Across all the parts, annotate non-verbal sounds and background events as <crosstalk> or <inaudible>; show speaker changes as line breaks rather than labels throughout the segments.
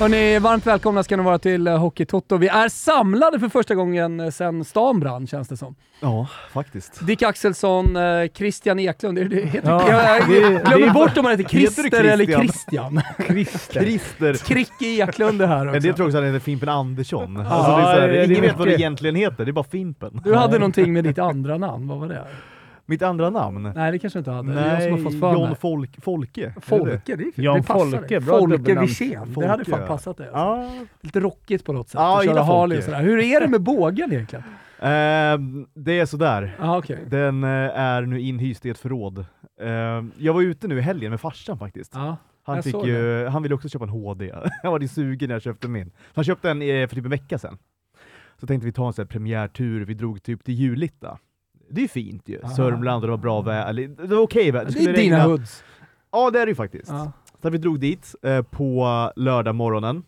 Hörni, varmt välkomna ska ni vara till eh, Hockeytoto. Vi är samlade för första gången sedan stan brann känns det som.
Ja, faktiskt.
Dick Axelsson, eh, Christian Eklund, är det det heter?
Ja,
jag, jag
det- det-
glömmer bort om han heter Christer
Heter du
eller
Christian?
Christian. <laughs>
Christer.
Christer.
Kricke Eklund är här
Men det
också.
tror jag också att han heter Fimpen Andersson. Alltså det är så här,
det- det är
ingen vet vad det
mycket.
egentligen heter, det är bara Fimpen.
Du hade någonting med ditt andra namn, vad var det?
Mitt andra namn?
Nej det kanske du inte hade. det är jag
Nej,
som har fått för
John
mig.
Folk, Folke. Är det det?
Folke, det är
Jan
det passar dig.
Folke, bra
Folke
dubbelnamn.
Wirsén, det hade fan
Folke, ja.
passat dig. Alltså.
Ja.
Lite rockigt på något sätt.
Ja,
att köra
jag gillar
Harley och
Folke.
sådär. Hur är det med bågen
<laughs>
egentligen?
Ehm, det är sådär.
Ja, okej.
Den eh, är nu inhyst i ett förråd. Ehm, jag var ute nu i helgen med farsan faktiskt.
Ja.
Han,
jag
fick
såg
ju, han ville också köpa en HD. <laughs> Han var lite sugen när jag köpte min. Så han köpte en eh, för typ en vecka sedan. Så tänkte vi ta en sån här premiärtur, vi drog typ till Julita. Det är ju fint ju.
Ah.
Sörmland och det var bra väder. Det var okej väder.
Det
skulle
är dina
regna.
hoods.
Ja det är det ju faktiskt.
Ja.
Så vi drog dit eh, på lördag morgonen.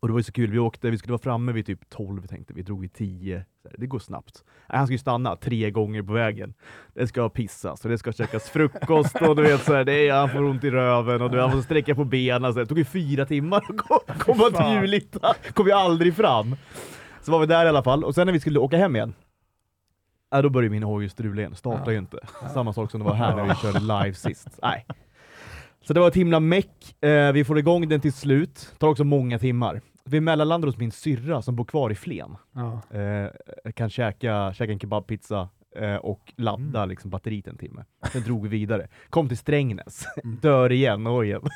Och det var ju så kul, vi åkte, vi skulle vara framme vid typ 12 tänkte vi, drog vid 10. Så här, Det går snabbt. Nej, han ska ju stanna tre gånger på vägen. Det ska pissas och det ska käkas frukost och du vet så här, det är, han får ont i röven och du, vet, han får sträcka på benen. Så här, Det tog ju fyra timmar att ko- komma till Julita. Kom ju aldrig fram. Så var vi där i alla fall och sen när vi skulle åka hem igen Ja, då började min hoj strula igen, startar
Ja.
ju inte. Samma sak som det var här när vi körde live sist. Nej. Så det var ett himla meck. Eh, vi får igång den till slut. Tar också många timmar. Vi mellanlandar hos min syrra som bor kvar i Flen.
Ja.
Eh, kan käka, käka en kebabpizza eh, och ladda
Mm.
liksom, batteriet en timme. Sen drog vi vidare. Kom till
<laughs>
Strängnäs.
Mm.
<laughs> Dör igen, oj igen. <laughs>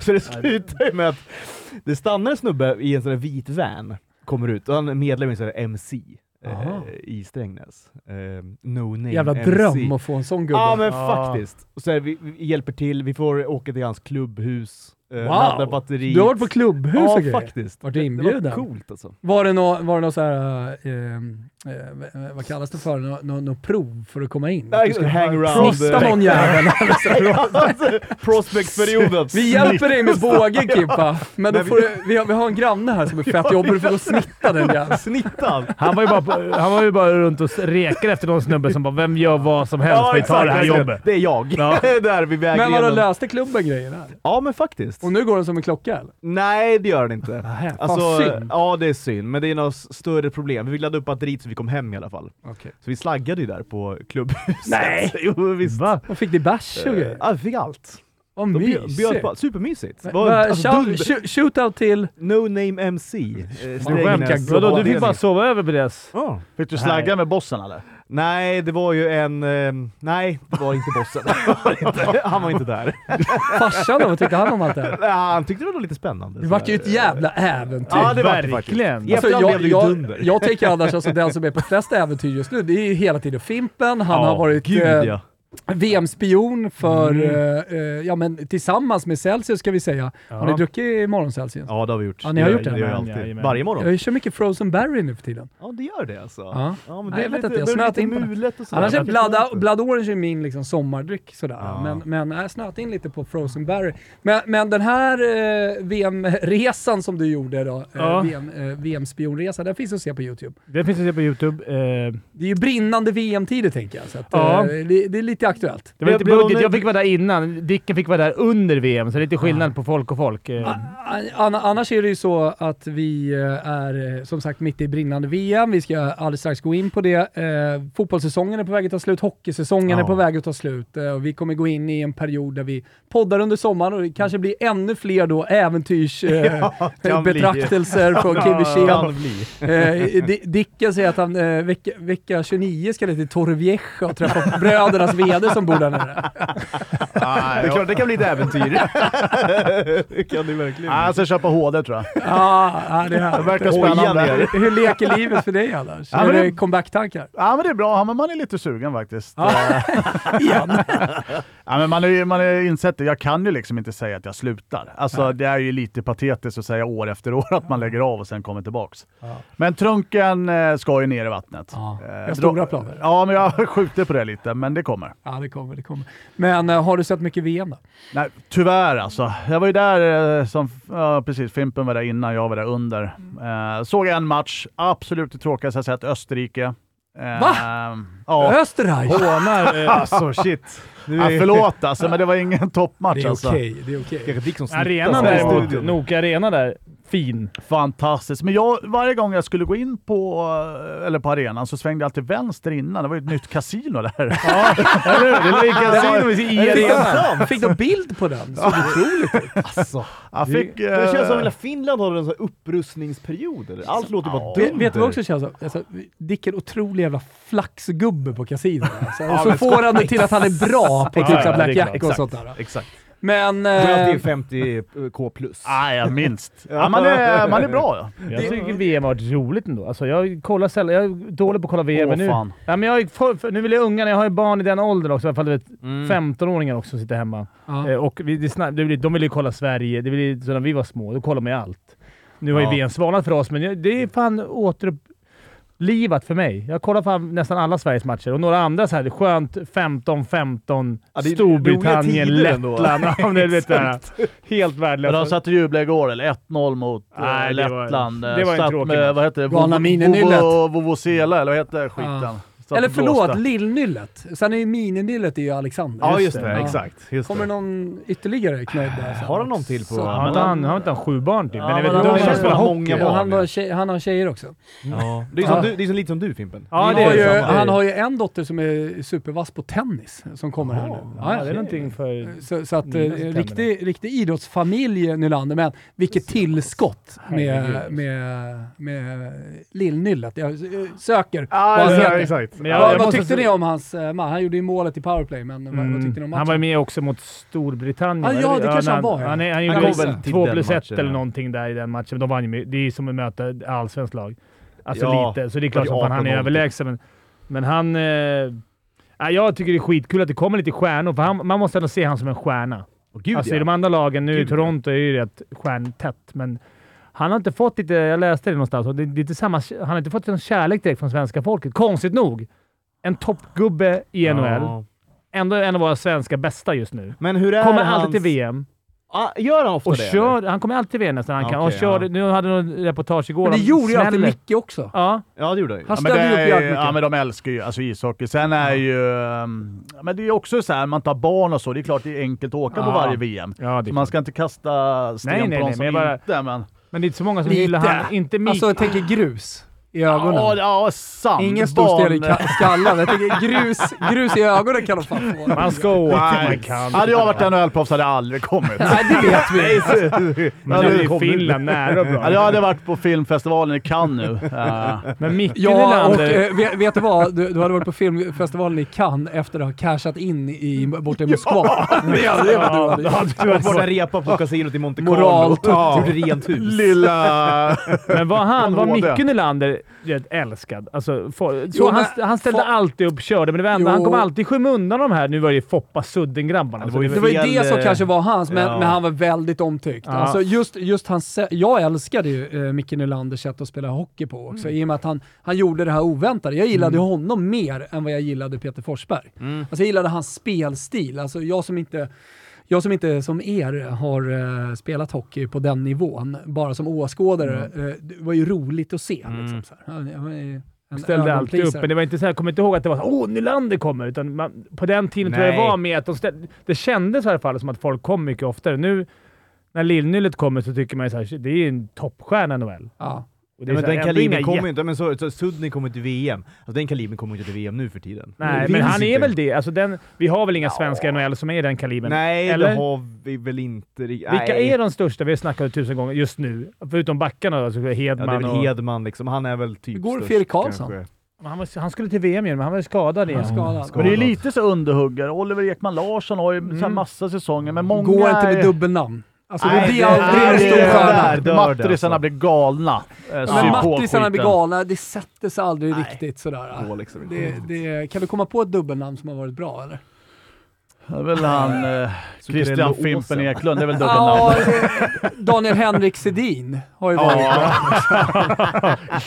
så det slutar ju med att det stannar en snubbe i en sån där vit van, kommer ut och han är medlem i en sån där MC. Eh,
Aha.
I Strängnäs. Eh, no name
Jävla
MC.
dröm att få en sån gubbe.
Ja men
Ja.
faktiskt. Och så här, vi, vi hjälper till, vi får åka till hans klubbhus, eh, ladda
wow!
batteriet.
Du har varit på klubbhus
Ja
och grejer.
faktiskt.
Vart
Det- Det
inbjuden?
var coolt alltså.
Var det någon var det nå så här, eh, eh, vad kallas det för, något nå, nå prov för att komma in? Att du
Nej,
ska
hang around. Alltså,
Snitta någon
<laughs>
jävel.
Prospectperioden.
Vi hjälper dig med bågen Kimpa, men då får du, vi, har, vi har en granne här som är fett jobbig, du får gå och snitta den
<laughs>
jäveln.
Snittan!
Han var, ju bara, på- han var ju bara runt och rekade efter någon snubbe som bara “Vem gör vad som helst?
Ja,
vi tar
exakt,
det här
verkligen.
jobbet”.
<laughs> Det är jag.
Ja.
Där vid
Men vadå,
vägrenen.
löste klubben grejen här?
ja men faktiskt.
Och nu går den som en klocka eller?
Nej det gör den inte.
Nähä, fan
Alltså,
synd.
ja det är synd, men det är något s- större problem. Vi laddade upp batteriet så vi kom hem i alla fall.
Okej.
Så vi slaggade ju där på klubbhuset.
Nej.
<laughs> jo visst.
Va?
Och fick ni bärs och grejer?
Ja, vi fick allt.
Vad
Eh, De bjöd-
mysigt!
bjöd på- Supermysigt.
Va-
Var-
va-
alltså,
shout-
dunder-
shoot- Shootout till...
No name MC. eh,
Du
Strängnäs.
skämtar? Vadå, du fick bara sova över på deras...
Ja.
Oh, Fick du
Nej.
slagga med bossen eller?
Nej, det var ju en... ehm, nej, det var inte
<laughs>
bossen. Det var inte- han var inte där.
Farsan då, vad tyckte han om allt det här?
Ja, han tyckte det var lite spännande.
Det vart ju ett jävla äventyr! Alltså,
Ja, det var det faktiskt.
Verkligen!
I efterhand blev det ju dunder.
jag, jag
<laughs>
tänker annars, alltså, den som är på flest äventyr just nu, det är ju hela tiden Fimpen, han
Ja,
har varit
Gud,
eh,
ja. Mm.
VM-spion för, eh, eh, ja men tillsammans med Celsius ska vi säga. Har ni
Ja.
druckit morgon Celsius?
ja, det har vi gjort.
Ja, ni har
Det
gjort
gör-
det?
Det gör jag
Jajamän,
alltid.
jajamän.
Varje morgon.
Jag kör mycket frozen berry nu för tiden.
Ja, det gör det alltså.
Ja.
men
Nej,
det
jag
är
vet
lite,
inte, jag
det är
snöat
lite
in på det.
mulet och sådär.
Annars är
Jag vet
bladda,
inte.
bladdorange är min liksom sommardryck sådär.
Ja.
Men, men jag snöat in lite på frozen berry. Men, men den här eh, VM-resan som du gjorde då, eh,
Ja.
VM, eh, VM-spionresa, den finns att se på YouTube.
Det finns att se på YouTube. Eh,
Det är ju brinnande VM-tider tänker jag, så att,
Ja.
eh, det, det är lite aktuellt.
Det var
Jag
inte
blev
budget. Jag
nöjd.
fick vara där innan. Dicken fick vara där under VM, så det är lite skillnad på folk och folk. Eh,
Ah,
An- Annars är det ju så att vi eh, är eh, som sagt mitt i brinnande VM. Vi ska alldeles strax gå in på det. Eh, fotbollssäsongen är på väg att ta slut, hockeysäsongen är
Ja.
på väg att ta slut eh, och vi kommer gå in i en period där vi poddar under sommaren och det kanske blir ännu fler då
<laughs> Ja, kan bli.
äventyrsbetraktelser från Kim
Kan
Wirsén.
bli.
Eh, Di- Dicken säger att han eh, vecka, vecka 29 ska ner till Torrevieja och träffa brödernas VD som bor där nere.
Det är klart, det kan bli ett
<laughs>
äventyr. det kan det verkligen.
Nej, jag ska köpa HD tror jag.
Ja, ja, det är
Det
härligt.
verkar
Oj,
spännande.
Janne.
Ja,
Hur leker livet för dig annars?
Ja,
är
men det-
det comeback-tankar?
men det är bra. Ja, men man är lite sugen faktiskt.
Ja. Igen.
Ja, men man har ju man har ju insett det. Jag kan ju liksom inte säga att jag slutar. Alltså, det är ju lite patetiskt att säga år efter år att man lägger av och sen kommer tillbaks. Men trunken eh, ska ju ner i vattnet.
Ja.
Eh,
Jag har stora planer.
Ja, men jag skjuter på det lite, men det kommer.
Ja, det kommer, det kommer. Men eh, har du sett mycket VM då?
Nej, tyvärr alltså. Jag var ju där eh, som, ja precis, Fimpen var där innan, jag var där under.
Mm.
Eh, såg en match, absolut det tråkigaste jag sett, Österrike. Eh,
Va?
Ja. <laughs>
Österreich!
Hånar... eh,
Alltså shit.
Nu
Ah,
är
förlåt alltså, men det var ingen toppmatch
<laughs> Det är
alltså.
okej, det är okej.
Erik Dickson snittar
Arenan
sig i
däremot,
studion.
Nokia Arena där, fin.
Fantastiskt. Men jag, varje gång jag skulle gå in på, eh, eller på arenan så svängde jag alltid vänster innan. Det var ju ett nytt kasino <laughs> där.
Ja, eller hur? Det var ju kasino i
Fick
arenan.
de- Fick de bild på den? Så otroligt ut.
Alltså,
Jag fick,
det, det känns som
eh,
hela Finland har en sån här upprustningsperiod. Eller? Allt låter bara
Ja.
Vet-
dumt.
Vet du vad också känns som? Alltså, Dicken otrolig jävla flaxgubbe på kasinot. Alltså. Och
Ja,
så
men
får han det till att han är bra på typ
Ja, ja,
ja,
det är
Black
klart.
Jack och sånt där.
Exakt.
Men... eh,
Jag tror att det är 50 K plus.
Ah,
Nej, Ah, ja, minst. ja, man, är, man är bra. Ja.
Jag tycker VM har varit roligt ändå. Alltså jag kollar sällan. Jag är dålig på att kolla VM,
Åh,
men nu...
fan.
Ja, men jag, är för, för, nu vill jag ungarna. Jag har ju barn i den åldern också. I alla fall du vet,
Mm.
15-åringar också som sitter hemma.
ja.
Eh, och vi, det snabb, det blir, de ville ju kolla Sverige. Det blir, så när vi var små, då kollade man ju allt. Nu har ju
Ja.
VM svalnat för oss, men jag, det är fan återupplivat för mig. Jag kollar fan nästan alla Sveriges matcher och några andra så här skönt 15-15,
Ja, det är roliga
Storbritannien,
tider ändå.
Lettland. Ja, men du vet det här. Helt
Men de
värdelöst.
satt och jublade igår, eller 1-0 mot eh,
Nej, det var-
Lettland. Eh,
det var en
satt
tråkig
med,
match.
vad heter det?
Galna
Vovo-
mininyllet.
Vovo- Vovozela, eller vad heter skiten?
Ja.
Satt och
Eller förlåt,
blåste.
lillnyllet. Sen är ju mininyllet är ju Alexander.
Ja, just det.
Ja.
Exakt. Just
Kommer
det.
någon ytterligare knöjd där? sen
Har han
också?
någon till på-
Så-
Har
Ja,
inte han, har inte han sju barn typ?
Ja,
Den
men
är väl
han
dum
har
när han
ju
spelar hockey?
många barn.
han, har tjej, han har tjejer också.
Ja. Det är ju som
Ja.
du- det är så lite som du Fimpen.
Ah. Ja,
han,
det
har
är
ju,
samma.
han har ju en dotter som är supervass på tennis som kommer här nu.
Ja, det är någonting för...
Så, så att eh,
Minnas tänderna.
riktig, riktig idrottsfamilj eh, Nylander, men vilket tillskott med,
Herregud.
med, med eh, Lill-Nyllet. Jag eh, söker
Ja,
vad han
ja,
heter.
exakt.
Men
vad vad
måste
tyckte
säga-
ni om hans eh, man? Han gjorde ju målet i powerplay, men vad, vad tyckte ni om
Mm. Han var ju
matchen?
med också mot Storbritannien.
Ah,
va?
ja, det kanske
när
han var, ja.
Han, är- han
Han
gjorde
kom
väl
väl till
två
den
plus ett
matchen,
eller
ja.
någonting där i den matchen. De vann ju. med- Det är ju som att möta ett allsvenskt lag. Alltså
Ja,
lite. Så det är klart
det
som
var ju
fan han är
18-0.
överlägsen. Men, men han... Eh, ja, jag tycker det är skitkul att det kommer lite stjärnor, för han, man måste ändå se han som en stjärna.
Åh, gud
alltså i
ja.
de andra lagen, nu i
Gud, ja.
Toronto är ju rätt stjärntätt, men han har inte fått lite, jag läste det någonstans, och det, det är inte samma, han har inte fått någon kärlek direkt från svenska folket. Konstigt nog. En toppgubbe i NHL
Ja.
ändå en av våra svenska bästa just nu.
Men hur är
Kommer
hans...
alltid till VM.
Ah, gör han ofta
Och
det? eller?
kör, han kommer alltid till VM nästan. Han kan, och
Okej,
kör,
ja.
Nu hade han något reportage igår.
Men det
om
gjorde ju
smäller.
alltid Micke också.
Ja,
Ja, det gjorde han ju.
Han
Ja, men,
ställde ju upp
det är,
jävligt
ja,
mycket.
men de älskar ju alltså, ishockey. Sen är ju... ehm, ja, Men det är ju också så här, man tar barn och så. Det är klart det är enkelt att åka på
Ja.
varje VM.
ja det
Så
är
man
man,
ska inte kasta sten
Nej, nej,
på någon
nej,
som
men jag bara-
inte... Men...
Men det är inte så många som
Lite.
gillar han. Inte Mik.
Alltså, jag tänker grus i ögonen.
Ja, ja, sant.
Ingen stor stel i
Barn-
ka- skallen. Jag tänker grus, grus i ögonen kan de fan få.
man ska åka man kan.
Hade jag varit NHL-proffs hade jag aldrig kommit.
Nej, det vet vi.
Men det är
Kom nu.
Finland nära och
Ja, jag
bra.
hade varit på filmfestivalen i Cannes nu. Eh. Ja.
Men Micke
Ja, och
Nylander.
eh, vet, vet du vad? Du, du hade varit på filmfestivalen i Cannes efter att ha cashat in i, borta i Moskva. det hade det hade du
Ja, alltså-
varit.
det hade varit
Och
så.
borta repa på kasinot i Monte Carlo.
Moralt.
Ja. Gjorde rent hus.
Lilla...
Men var han, var
Nåde.
Micke Nylander rätt älskad? Alltså, for, så
Jo, men-
han, han ställde
for-
alltid upp, körde, men det var ändå,
Jo.
han kom alltid i skymundan de här. Nu var det Foppa Sudden-grabbarna.
det
så
var ju
Det var ju det som
eh,
kanske var hans, men,
ja.
men han var väldigt omtyckt.
Ja.
Alltså just, just hans, sä- jag älskade ju eh, Micke Nylanders sätt att spela hockey på också, i och med att han, han gjorde det här oväntade. Jag gillade ju honom mer än vad jag gillade Peter Forsberg. Alltså jag gillade hans spelstil. Alltså jag som inte jag som inte som er har eh, spelat hockey på den nivån, bara som åskådare, eh, det var ju roligt att se. Liksom, så här. Han, han var ju en
ställde alltid upp,
ögonplisare.
men det var inte så här, jag kommer inte ihåg att det var så här, åh, Nylander kommer. Utan man, på den tiden tror jag det
Nej.
var med att de ställde, Det kändes i alla fall som att folk kom mycket oftare. Nu när Lillnyllet kommer så tycker man ju så här, "Shit, det är ju en toppstjärna i NHL.
Ja.
Och det
Ja,
är
men
så här,
den
ändå inga
kalibern kommer
jätte-
ju inte. Men så, så Sudden kommer till VM. Alltså, den kalibern kommer ju inte till VM nu för tiden.
Nej,
Det
men
finns
han är
inte.
väl det. Alltså den, vi har väl inga svenska i NHL som är i den kalibern?
Nej, det
Eller?
har vi väl inte riktigt.
Vilka
Nej.
är de största? Vi har snackat det tusen gånger just nu. Förutom backarna då, alltså
Ja, det är
Hedman
väl
och...
Hedman liksom. Han är väl typ
Hur går det för
störst,
Erik Karlsson?
kanske.
han, var, han skulle till VM igen, men han var ju skadad
Han
igen.
var skadad.
skadad.
Men det är lite så underhuggare. Oliver Ekman Larsson har ju så här massa säsonger, men många...
Gå inte med
är-
dubbelnamn. Alltså, det,
Nej,
det är aldrig
nej,
en stor
det är-
stjärna.
där dör det
Mattisarna
alltså.
blir galna. eh,
Ja, men mattisarna blir galna, det sätter sig aldrig riktigt
Det går
sådär.
liksom inte.
Ah, Det, det, kan du komma på ett dubbelnamn som har varit bra eller?
Det är väl han eh, Christian
Åsen.
Fimpen Eklund, det är väl
Ja,
dubbelnamn?
det- Daniel Henrik Sedin har ju varit bra.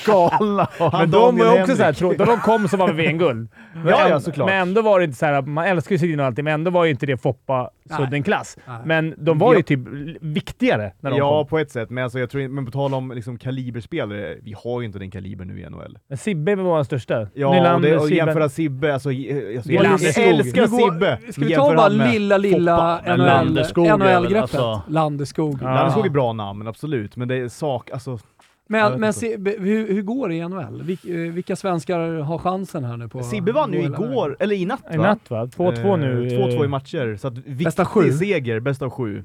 galna!
Men de var ju också såhär, tro- då de kom så var vi VM-guld. Men
<laughs> Ja, ja,
ändå-
såklart.
Men ändå var det inte såhär, man älskar ju Sedin och allting, men ändå var ju inte det Foppa så
Nej.
det är en klass.
Nej.
Men de var ju
Ja.
typ viktigare när de
Ja,
kom.
på ett sätt, men, alltså, jag tror, inte- men på tal om liksom, kaliberspelare, vi har ju inte den kalibern nu i NHL.
Men Sibbe var den största.
Ja,
Nylander,
och, det, och
Sibbe.
jämföra Sibbe, alltså, eh, alltså jag,
Nylander
jag älskar
Vi går-
Sibbe!
Ska vi
Jämför
ta bara
han med
lilla, lilla
Foppa? Men Landeskog är väl
NHL-greppet?
alltså-
Landeskog.
Ja.
Landeskog är bra namn, absolut, men det är sak, alltså, Jag
Men,
vet
men
inte.
se, be- hur, hur går det i NHL? Vil- eh, vilka svenskar har chansen här nu? På,
Sibbe vann ju
på hela
igår, eller i natt
I
va?
natt va? 2-2 nu.
Eh, 2-2 i matcher, så att viktig
Bästa sju.
seger, bäst av sju.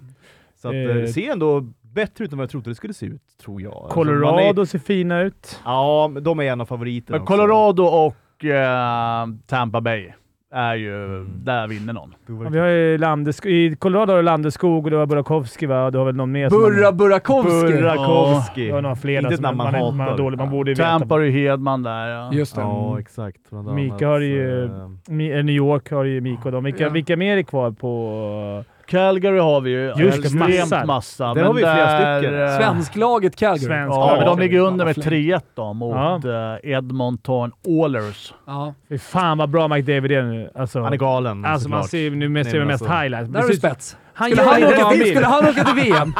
Så att, eh,
Eh,
det ser ändå bättre ut än vad jag trodde det skulle se ut, tror jag. Alltså, man är,
Colorado ser fina ut.
ja, men de är en av favoriterna
Men
också.
Colorado och eh, Tampa Bay är ju... Där vinner någon.
Det
Ja,
var-
Vi har ju Landeskog. I Colorado har du Landeskog och du har Burakovsky va? Och du har väl någon mer?
vägen.
som man-
Burra Burakovsky!
Burakovsky.
Du har några fler
Inte
där
ett
som
namn
man,
man
man, man,
hatar.
har dåligt. Man borde ju veta.
Tampa och Hedman där ja.
Just det.
Ja, exakt. Bland
Mika
annat,
har ju-
eh,
Mi- eh, New York har ju Miko. Då. Vilka,
Ja.
vilka mer är kvar på...
Calgary har vi ju.
Just det,
extremt
massor.
massa.
Där
men
har vi flera
där,
stycken.
eh,
Svensklaget Calgary.
Svensk-
Ja, men de ligger
Ja,
under med
flink.
3-1 då mot eh, Edmonton Oilers.
Ja.
Fy fan vad bra McDavid är nu. Alltså,
Han är galen
alltså man
såklart.
ser ju nu mest,
Nej,
ser
men
mest
alltså-
highlights.
Där har du
Precis.
spets.
Han
Skulle
gör
han,
det
åka till,
vill.
skulle han åka till VM?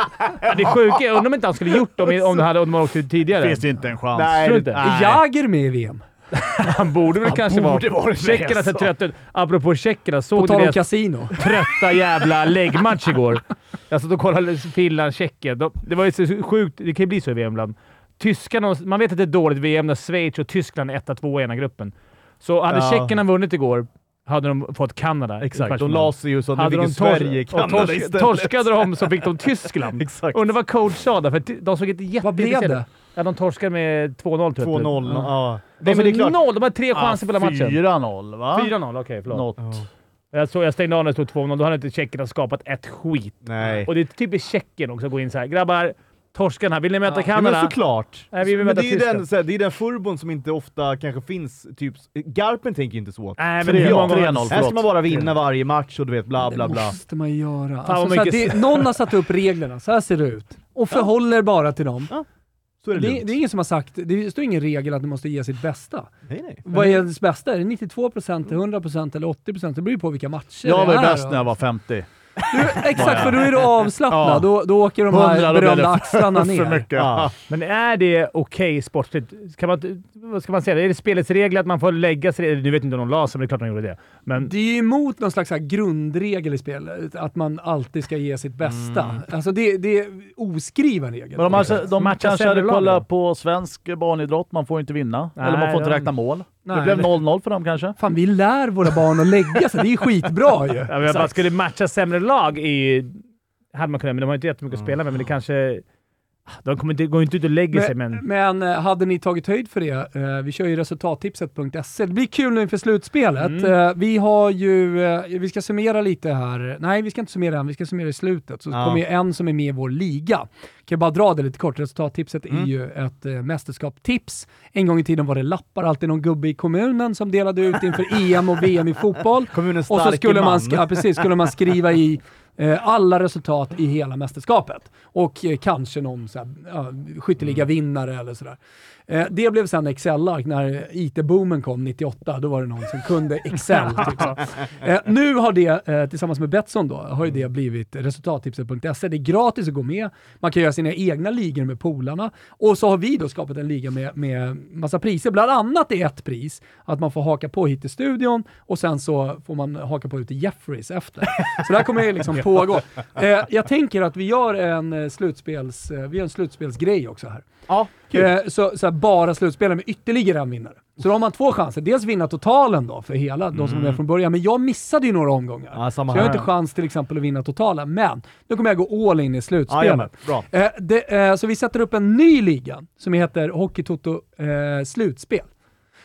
Det sjuka är, undrar om inte han skulle gjort det om, om, det hade, om de hade åkt ut tidigare.
Finns det inte en chans.
Tror du inte?
Är Jagr med i VM?
Han borde väl kanske
borde
vara...
varit med,
Tjeckerna ser
alltså.
trötta ut. Apropå tjeckerna,
På
såg du
tal om
deras
kasino.
trötta jävla
<laughs>
läggmatch igår? Alltså, de kollade Finland-Tjeckien. De, det var ju så sjukt. Det kan ju bli så i VM ibland. Tyskarna, man vet att det är dåligt VM när Schweiz och Tyskland är etta, tvåa i ena gruppen. Så hade
Ja.
tjeckerna vunnit igår hade de fått Kanada. i
Exakt, de
kvartsfinal.
la sig ju så att nu
Mm. Hade
fick
de
ju Sverige
tors- och
Kanada
tors-
istället.
torskade de så fick
<laughs>
de Tyskland.
Exakt.
Undrar vad coach sa där, för ty- de såg inte
Vad blev
jätteintresserade
det?
Ja, de torskade med typ. 2-0 tror jag.
2-0. Ja.
Mm. De
Nej, men det är klart. Ah,
noll! De hade tre chanser på hela matchen.
4-0 va?
4-0, okej förlåt.
Något.
Ja.
Jag, såg, jag stängde av när det stod 2-0. Då hade inte tjeckerna skapat ett skit.
Nej.
Och det är typiskt Tjeckien också att gå in så här. “Grabbar, torsken här. Vill ni möta
Ja.
Ja, men
Kanada?”
såklart.
Nej, vi vill
men det
möta
är ju
Tyskland.
den, såhär, det är den furbon som inte ofta kanske finns. Typ, Garpen tänker ju inte så.
Nej, men
Tre-
det är många
3-0,
gånger...
Här ska
förlåt.
man bara vinna varje match och du vet bla bla
Det
bla.
måste man göra.
vad
Alltså, så här,
mycket-
det, någon har satt upp reglerna, så här ser det ut. Och förhåller bara till dem.
Så är det,
Det,
lugnt. Mm.
det är ingen som har sagt, det står ingen regel att du måste ge sitt bästa.
Nej, nej.
Vad är ens bästa? Är det 92%, 100% eller 80%? Det beror ju på vilka matcher
Jag
det
var
är.
bäst när jag var 50.
Du, exakt, för då är du avslappnad.
Ja.
Då, då åker de
100,
här
då blir
berömda
det
axlarna
<laughs> För
ner.
mycket. Ja.
Men är det okej sportsligt? Kan man, inte- vad ska man säga? Är det spelets regler att man får lägga sig? Nu vet inte om de la sig, men det är klart de gjorde det. Men
Det är ju emot någon slags så här grundregel i spel, att man alltid ska ge sitt bästa. Alltså det, det är oskriven regel.
Men de, har, de
Matcha
kanske
sämre
hade
lag
kollat
då?
på svensk barnidrott. Man får inte vinna.
Nej,
Eller man får inte
de-
räkna mål.
Nej.
Det blev 0-0 för dem kanske.
Fan, vi lär våra barn att lägga sig. Det är ju skitbra ju.
Ja, men att man skulle matcha sämre lag är ju... Hade man kunnat, men de har inte jättemycket att spela med, men det kanske... Ah, De kommer inte, går inte ut och lägger sig, men...
Ah. Men eh, hade ni tagit höjd för det? Eh, Vi kör ju resultattipset.se. E. Det blir kul nu inför slutspelet.
Mm.
Eh, Vi har ju, eh, vi ska summera lite här. Nej, vi ska inte summera än, vi ska summera i slutet. Så
Ja.
kommer ju en som är med i vår liga. Kan jag bara dra det lite kort. Resultattipset är
Mm.
ju ett eh, mästerskapstips. En gång i tiden var det lappar, alltid någon gubbe i kommunen som delade ut inför <laughs> EM och VM i fotboll.
Kommunens
Och så
starke
skulle man,
man.
sk- ja, precis, skulle man skriva
<laughs>
i eh, alla resultat i hela mästerskapet. Och eh, kanske någon så här, ja, skytteliga
Mm.
vinnare eller sådär. Eh, det blev sen Excel-ark när IT-boomen kom 98. Då var det någon som kunde Excel. typ
<laughs>
så. Eh, nu har det, eh, tillsammans med Betsson då, har ju det blivit resultattipset.se. E. Det är gratis att gå med. Man kan göra sina egna ligor med polarna. Och så har vi då skapat en liga med, med massa priser. Bland annat är ett pris att man får haka på hit till studion och sen så får man haka på ut till Jeffries efter. Så det här kommer ju liksom pågå. Eh, jag tänker att vi gör en eh, slutspels, eh, vi gör en slutspelsgrej också här.
Ja, kul.
Eh, så, så här, bara slutspelare med ytterligare en vinnare. Så då har man två chanser. Dels vinna totalen då för hela, de som var med från början. Men jag missade ju några omgångar.
Mm. Ja,
så
samma
jag har
här.
inte chans till exempel att vinna totalen. Men nu kommer jag gå all in i
Ja, jajamän.
slutspelet.
Bra.
eh, det, eh, så vi sätter upp en ny liga som heter Hockey Toto eh, Slutspel.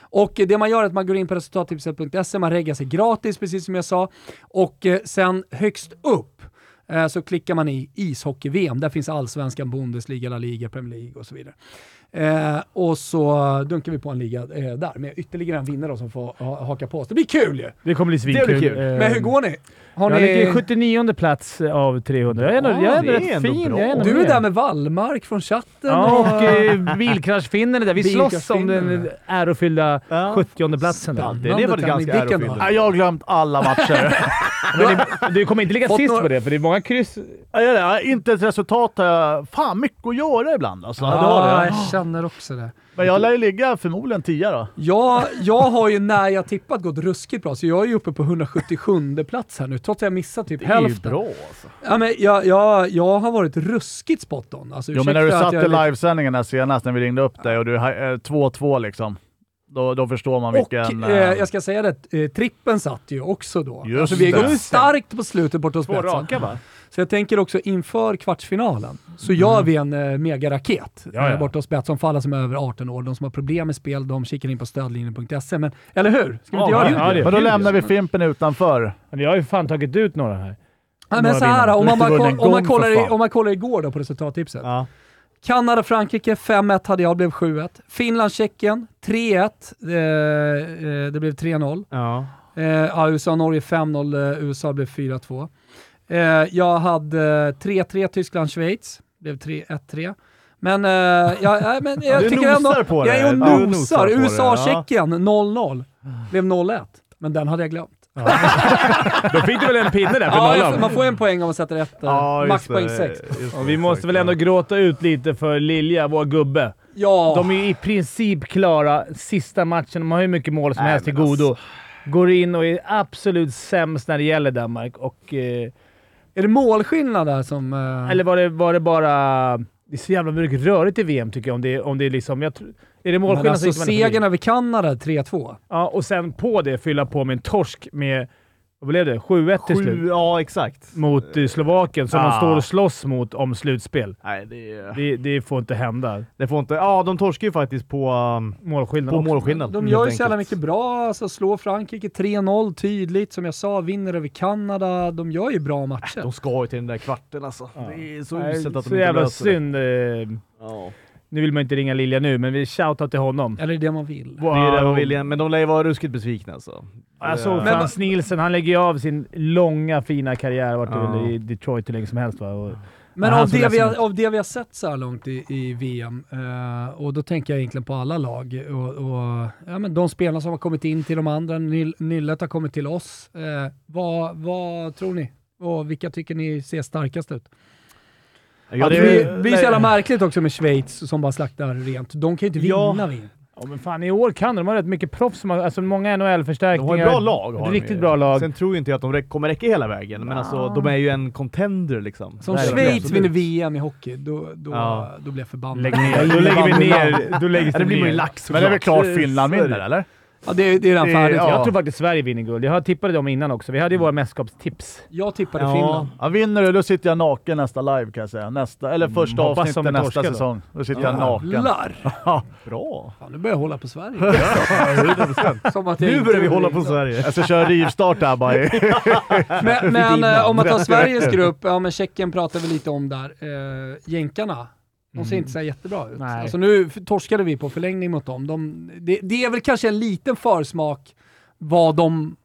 Och eh, det man gör är att man går in på resultattipset.se, E, man reggar sig gratis precis som jag sa. Och eh, sen högst upp eh, så klickar man i ishockey-VM. Där finns allsvenskan, Bundesliga, La Liga, Premier League och så vidare. Eh, och så dunkar vi på en liga eh, där med ytterligare en vinnare då som får ha, haka på oss. Det blir kul ju!
Det kommer bli svinkul.
Det blir kul.
Eh,
Men hur går ni? Har
jag ligger i
ni...
79 plats av 300. Jag är ändå,
Ja,
jag är ändå
det är
rätt
ändå
fin.
bra.
Jag är ändå
Du är
med.
där med Wallmark från chatten.
Ja,
och-
och eh, bilkraschfinnen är där. Vi slåss om den
Bilkraschfinnen.
ärofyllda
Ja.
70 platsen där.
Det- det var
Spännande
ganska
tävling. Vilken
ärofylld.
då?
Ja, jag har glömt alla
<laughs>
matcher.
Men det- Du kommer inte ligga
Fått
sist
några-
på det, för det är många kryss.
Ja, ja, ja, inte ett resultat har jag... Fan, mycket att göra ibland alltså. Det har
Ja,
jag.
jag känner också det.
Men jag lär ju ligga förmodligen tia då.
Jag, jag har ju när jag tippat gått ruskigt bra, så jag är ju uppe på 177 plats här nu, trots att jag missat typ hälften.
alltså.
Ja, men jag, jag, jag har varit ruskigt spot on. Alltså,
Jo, men när du
ursäkta att
satt i
jag är lite-
livesändningen här senast, när vi ringde upp dig och du eh, 2-2 liksom. Då, då förstår man
Och
vilken...
eh, jag ska säga det, eh, trippen satt ju också då.
Just
alltså, vi har
det.
gått starkt på slutet bort hos spetsen.
va?
Så jag tänker också inför kvartsfinalen så gör vi en eh, megaraket
Ja, ja.
eh, bort hos Betsson för alla som är över 18 år. De som har problem med spel, de kikar in på stödlinjen.se. E, Men, eller hur? Ska vi inte
Ja,
göra det?
ja, det gör
men då
vi.
lämnar vi
alltså.
Fimpen utanför.
Men Jag har ju fan tagit ut några här.
Nej,
Några
men så här,
vinnare.
om man,
Du har
bara,
inte vunnit
koll-
en
om, man
gång,
kollar
för
i,
fan.
om man kollar igår då på resultattipset.
Ja.
Kanada-Frankrike 5-1 hade jag, blev 7-1. Finland-Tjeckien 3-1, eh, eh, det blev 3-0.
Ja.
Eh, ja, USA-Norge 5-0, eh, USA blev 4-2. Eh, jag hade eh, 3-3 Tyskland-Schweiz, blev 3-1-3. Men, eh, jag, nej,
<laughs>
men jag
Du
tycker
nosar
ändå...
på det.
jag är och
Du
nosar.
nosar på det, ja.
USA-Tjeckien 0-0, blev 0-1. Men den hade jag glömt.
Då fick du väl en pinne där för
Ja,
nollan?
jag- man får en poäng om man sätter rätt. eh,
just
Maxpoäng
det.
6.
Just
Och
det,
vi måste
exakt,
väl ändå
ja.
gråta ut lite för Lilja, vår gubbe.
Ja.
De är ju i princip klara sista matchen. De har hur mycket mål som helst till godo.
alltså-
Går in och är absolut sämst när det gäller Danmark. Och, eh,
Är det målskillnad där som... eh,
Eller var det, var det bara... Det är så jävla mycket rörigt i VM tycker jag. Om det, om det är liksom... Jag, tr- är det målskillnad
men alltså
gick man inte förbi.
segern över Kanada 3-2.
Ja, och sen på det fylla på med en torsk med... Vad blev det? 7-1 till
Sju,
slut.
ja, exakt.
Mot eh, Slovakien, som de
Ah.
står och slåss mot om slutspel.
Nej, det,
Det, det får inte hända.
det får inte... Ja, de torskar ju faktiskt på, um,
Målskillnad
på
också.
målskillnad.
De
helt
gör ju så jävla
enkelt.
mycket bra. Alltså, slår Frankrike 3-0 tydligt. Som jag sa, vinner över Kanada. De gör ju bra matcher.
Äh, De ska ju till den där kvarten alltså. Det är så
Nej,
uselt att de
så
inte
jävla
löser det.
synd. eh,
Ja.
Nu vill man inte ringa Lilja nu, men vi shoutout till honom.
Eller är det det man vill.
Det är det man vill igen, men de lär ju vara ruskigt besvikna alltså.
Jag såg
Men-
Frans Nielsen. Han lägger ju av sin långa fina karriär. Vart
Ja.
väl i Detroit hur länge som helst va? Och,
Men
Ja, han
av
såg
det, vi
ledsen
har,
ut.
av det vi har sett så här långt i, i VM, eh, och då tänker jag egentligen på alla lag, och, och ja, men de spelarna som har kommit in till de andra, Nyl- Nyllet har kommit till oss. Eh, vad, vad tror ni? Och vilka tycker ni ser starkast ut?
Ja,
det,
det-
blir, blir så jävla märkligt också med Schweiz som bara slaktar rent. De kan ju inte
Ja.
vinna VM.
Ja, men fan i år kan de. De har rätt mycket proffs. Som har, alltså många
De
NHL-förstärkningar.
har ett bra lag. Har de
Riktigt
ju.
bra lag.
Sen tror ju inte jag att de räck, kommer räcka hela vägen, men alltså de är ju en contender liksom.
Så om
Verkligen.
Schweiz
Absolut.
vinner VM i hockey, då, då,
Ja.
då blir jag förbannad.
Lägg ner. Då lägger vi ner. Då läggs
Ja, det blir man ju lax
Men det är väl klart
såklart.
Finland vinner, eller?
Ja, det, det är redan
Det-
färdigt.
ja.
Jag tror faktiskt Sverige vinner guld. Jag tippade dem innan också. Vi hade ju våra mästerskapstips.
Jag tippade
Ja.
Finland.
Ja, vinner du, då sitter jag naken nästa live kan jag säga. Nästa, eller första
hoppas de
avsnittet nästa
torskar då.
säsong. Då sitter jag naken.
Jävlar!
Bra!
Fan, nu börjar jag hålla på
<laughs>
Sverige. Som att jag
Nu
inte
börjar vi hålla
gjorde
på Sverige.
Jag ska köra rivstart här bara. i-
Men, men
innan.
eh, om man tar Sveriges grupp, ja men Tjeckien pratar vi lite om där. Eh, jänkarna, de ser inte så här jättebra ut.
Nej.
Alltså nu f- torskade vi på förlängning mot dem. De, det, det är väl kanske en liten försmak vad de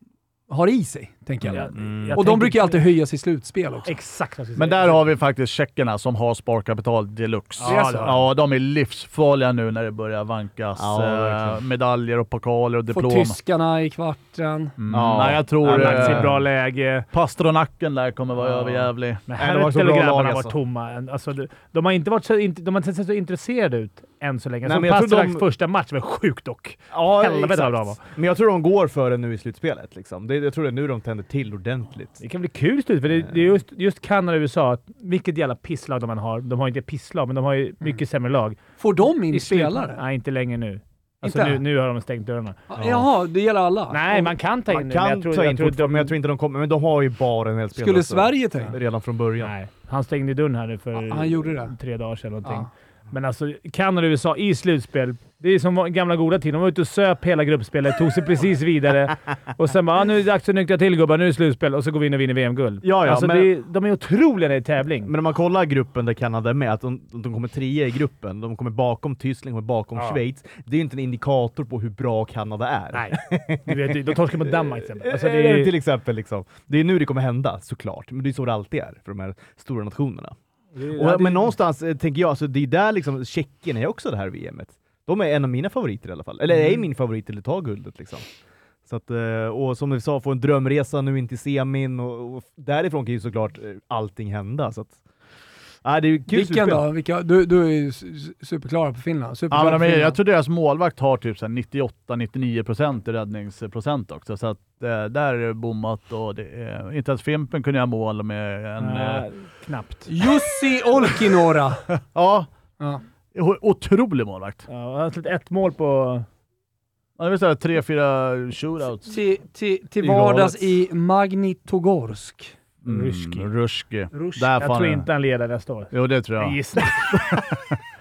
har i sig, tänker jag.
Mm.
Jag
Och de
tänker-
brukar ju alltid höjas i slutspel också.
Exakt vad jag skulle
Men
säga.
där har vi faktiskt tjeckerna som har sparkapital deluxe.
Ja, det har de.
ja, de är livsfarliga nu när det börjar vankas
Ja, verkligen.
eh, medaljer och pokaler och
Får
diplom.
tyskarna i kvarten.
Mm.
Ja.
Nej, jag tror
Han har lagt sig i
eh,
bra läge.
Pasternacken där kommer vara
Ja.
överjävlig.
Men
Nej, Äh, de har så
Hertel och
bra
grabbarna
lag,
var
alltså.
tomma. Alltså, de, de har inte varit så, inte, de har inte sett så intresserade ut än så länge.
Nej,
Alltså,
men jag tror
Pasteraks
de-
första match var sjuk dock.
Ja,
Helvete vad
exakt.
bra de var.
Men jag tror de går för det nu i slutspelet. Liksom. Det, jag tror det är nu de tänder till ordentligt.
Det kan bli kul slut, för det, det är just, just Kanada och USA. att Vilket jävla pisslag de än har. De har inte pisslag, men de har
Mm.
ju mycket sämre lag.
Får de in
I slut-
spelare?
Nej, inte längre nu. Alltså,
Inte?
nu, nu har de stängt dörrarna.
Ja. Jaha, det gäller alla?
Nej,
Och
man kan ta in
Ah, Man
nu,
kan
men jag tror,
ta in
jag tror
fortfarande, men jag tror inte de kommer. Men de har ju bara en hel spelare.
Skulle
alltså.
Sverige ta in?
Redan från början.
Nej, han stängde dörren här nu för
Ah,
Ja, han gjorde det.
tre dagar sedan. Någonting.
Ja.
Men alltså, Kanada och USA i slutspel. Det är som gamla goda tider. De var ute och söp hela gruppspelet, tog sig precis vidare och sen bara ah, “Nu är det dags att nyktra till gubbar, nu är det slutspel” och så går vi in och vinner VM-guld.
Ja, ja,
alltså,
men-
det är, de är otroliga i tävling.
Men om man kollar gruppen där Kanada är med, att de, de kommer trea i gruppen, de kommer bakom Tyskland, de kommer bakom
Ja.
Schweiz. Det är ju inte en indikator på hur bra Kanada är.
Nej, du vet, de torskar mot Danmark till exempel. Alltså,
<laughs>
det
Eh, Till
är,
exempel. Liksom. Det är nu det kommer hända, såklart. Men det är så det alltid är för de här stora nationerna.
det,
Och,
ja, det,
men någonstans eh, tänker jag, alltså, det är där liksom, Tjeckien är också det här VMet. De är en av mina favoriter i alla fall. Eller
Mm.
är min favorit till att ta guldet. Liksom. Så att, eh, och som vi sa, få en drömresa nu in till semin och, och därifrån kan ju såklart eh, allting hända. Så att, nej, det är ju kul
Vilken
slutspel.
då? Vilka? Du, du är ju su- su- superklara på Finland.
Ja,
Superklara
men de
på
är,
Finland.
jag tror deras målvakt har typ 98-99% i räddningsprocent också, så att eh, där är det bommat och det är, inte ens Fimpen kunde jag mål med en... Eh,
nej, knappt.
Jussi Olkinora!
ja,
Ja.
o- otrolig målvakt.
Ja, han har släppt ett mål på...
Ja, Det vill säga tre, fyra shootouts.
Till, till, till
Det är galet.
vardags i Magnitogorsk.
Ruski.
Ruski.
Ruski.
Mm, Där
Jag
fan
tror
är-
inte han leder nästa år.
Jo, det tror jag.
Gissa.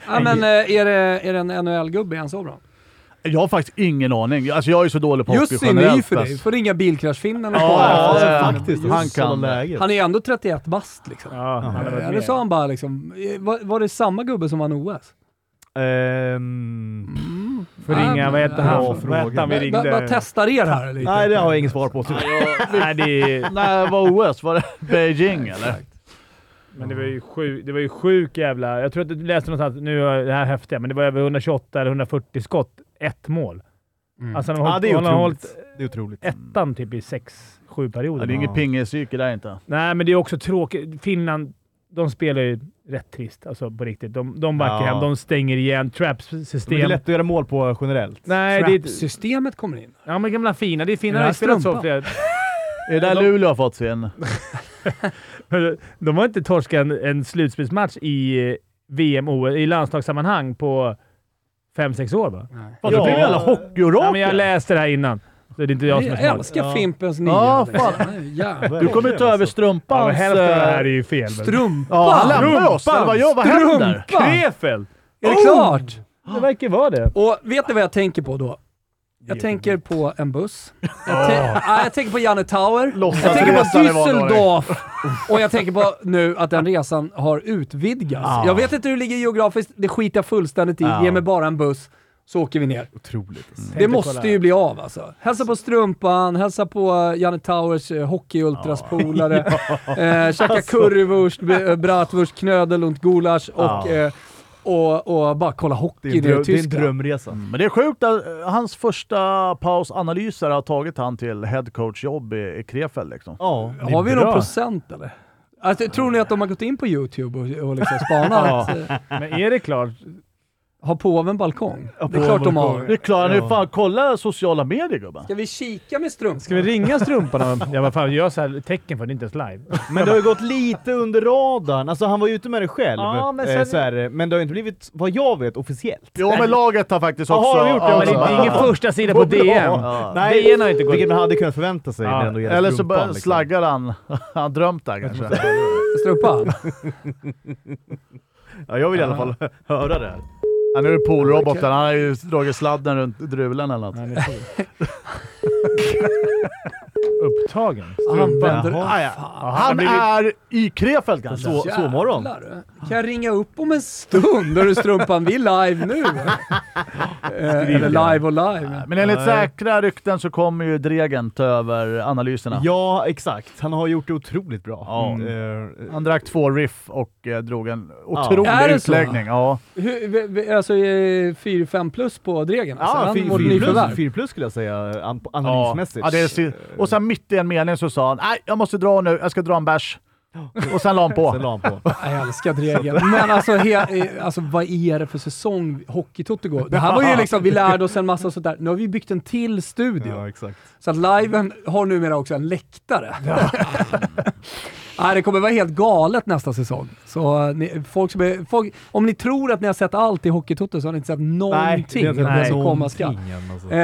Ja, men eh, är det, är det en NHL-gubbe? Är han så bra?
Jag har faktiskt ingen aning. Alltså jag är så dålig på hockey
Jussi, ny för dig.
alltså.
Du får ringa bilkraschfinnen och kolla.
Ja,
Alltså,
ja,
fan,
faktiskt.
Jussi.
Han kan det.
läget.
Han är ju ändå 31 bast liksom.
Ja, han har
Eller
varit
sa
med.
han bara liksom, eh, var, var det samma gubbe som vann OS?
Mm.
Ehm,
Får ringa, vad heter
Bra
han? Vad
fråga.
hette han vi
Vi
ringde?
Bara testar er här lite.
nej, det har jag inget svar på. tyvärr.
Nej, det
<laughs>
är,
När var OS? Var det Beijing eller?
men det var ju sjuk, det var ju sjuk jävla... Jag tror att du läste någonstans, nu är det här häftiga, men det var över 128 eller 140 skott. Ett mål. Alltså han har
Ja,
hållit,
det är
han har hållit
otroligt. Det är otroligt.
ettan typ i sex, sju
Ja,
perioder.
det är inget pingispsyke där inte.
Nej, men det är också tråkigt. Finland, de spelar ju rätt trist. Alltså på riktigt. De, de backar
Ja.
hem, de stänger igen.
Det är
Traps-system.
lätt att göra mål på generellt.
Nej, det är,
Trap-systemet kommer in.
ja, men gamla fina. Det är
Den
fina. Det
här
har spelat så
strumpan.
flera,
Är det där
De-
Luleå har fått sin?
Hörru, <laughs> De har inte torskat en, en slutspelsmatch i eh, VM och i landslagssammanhang på fem sex år va?
Fan, du
Ja.
blir ju jävla
Ja, men jag
hockeyorakel!
läste det här innan. Så det är inte jag
Jag,
som är smart.
älskar Fimpens nya.
Ja,
liksom.
fan.
Nej, jävlar.
Du kommer ju ta över
Ja, men
strumpans...
hälften av det här är
eh,
ju fel. men-
Strumpa!
Ja, han lämnar oss! Eller vad, gör, vad händer?
Strumpa!
Krefeld!
Är det klart?
Det verkar vara det.
Och vet ni vad jag tänker på då? Jag tänker på en buss. Jag, tän- ah, jag tänker på Janne Tower.
Låtsas
jag tänker på
resan i vanlig
Düsseldorf. Och jag tänker på nu att den resan har utvidgats. Jag vet inte hur det ligger geografiskt, det skiter jag fullständigt i. Ge mig bara en buss, så åker vi ner.
Otroligt. alltså.
Det måste ju bli av alltså. Hälsa på Strumpan, hälsa på eh, Janne Towers eh, hockeyultraspolare, <laughs> eh, käka currywurst, b- eh, bratwurst, knödel och gulasch och,
Ja.
eh, och, och bara kolla hockey
Det är en,
nere i
dröm, det är en
Tyskland.
drömresa.
Men det är sjukt att eh, hans första pausanalyser har tagit han till headcoachjobb i, i Krefeld liksom.
Ja.
Har vi
bra.
någon procent eller? Alltså, tror ni att de har gått in på YouTube och, och liksom
<laughs>
spanat? Eh,
Men är det klart?
Har påven balkong? det är
påven
klart de
Det
har.
är klart, nu fan kolla sociala medier gubben.
Ska vi kika med strumpan?
Ska vi ringa strumporna? Jag bara, fan, gör så här tecken för det är inte ens live.
Men det har ju gått lite under radarn. Alltså han var ju ute med det själv,
Ja, men
men,
sen-
eh, Sverre. Men det har ju inte blivit, vad jag vet, officiellt.
Jo men laget har faktiskt
Jaha,
också...
<laughs> har de gjort det
Men
också?
det är ingen första sida på
Vad bra.
DN.
<laughs> Ja.
DN har inte gått
Vilket man hade kunnat förvänta sig
Ja.
när det ändå gäller liksom.
Eller så
strumpan.
bara slaggar han. <laughs> Han drömt där kanske.
<laughs>
Strumpan?
Ja, jag vill i alla fall höra det. här.
Han är ju poolroboten. Han har ju dragit sladden runt drulen eller något.
Nej, men fan. Upptagen.
Använder...
Jaha.
Fan.
Han är i Krefeld kanske?
Så, så morgon.
Jävlar, Kan jag ringa upp om en stund? Hörru Strumpan, vi är live
<laughs>
nu. Eh, Eller live och live.
Men enligt säkra rykten så kommer ju Dregen ta över analyserna.
Ja, exakt. Han har gjort det otroligt bra.
Ja.
Mm. Eh,
Han drack två riff och eh, drog en otrolig
Är det så?
utläggning. Ja.
Hur, vi- vi- alltså 4-5 plus på Dregen? Alltså,
Ja,
han
fyr-
vårt
fyr
nyförvärv.
plus, fyr plus skulle jag säga an-
Ja.
analysmässigt.
Ja, det är, si- och sen mitt i en mening så sa han nej, jag måste dra nu. Jag ska dra en bärs. Och sen la han
<laughs> Sen
på.
la han
<laughs>
på.
Jag älskar Dregen. Men alltså, he, eh, alltså, vad är det för säsong Hockeytoto går? Det här var ju liksom, vi lärde oss en massa sånt där. Nu har vi byggt en till studio.
Ja, exakt.
Så att liven har numera också en läktare. <laughs> Nej, det kommer vara helt galet nästa säsong. Så eh, ni, folk som är, folk, om ni tror att ni har sett allt i Hockeytoto så har ni inte sett någonting av det som komma skall. Eh,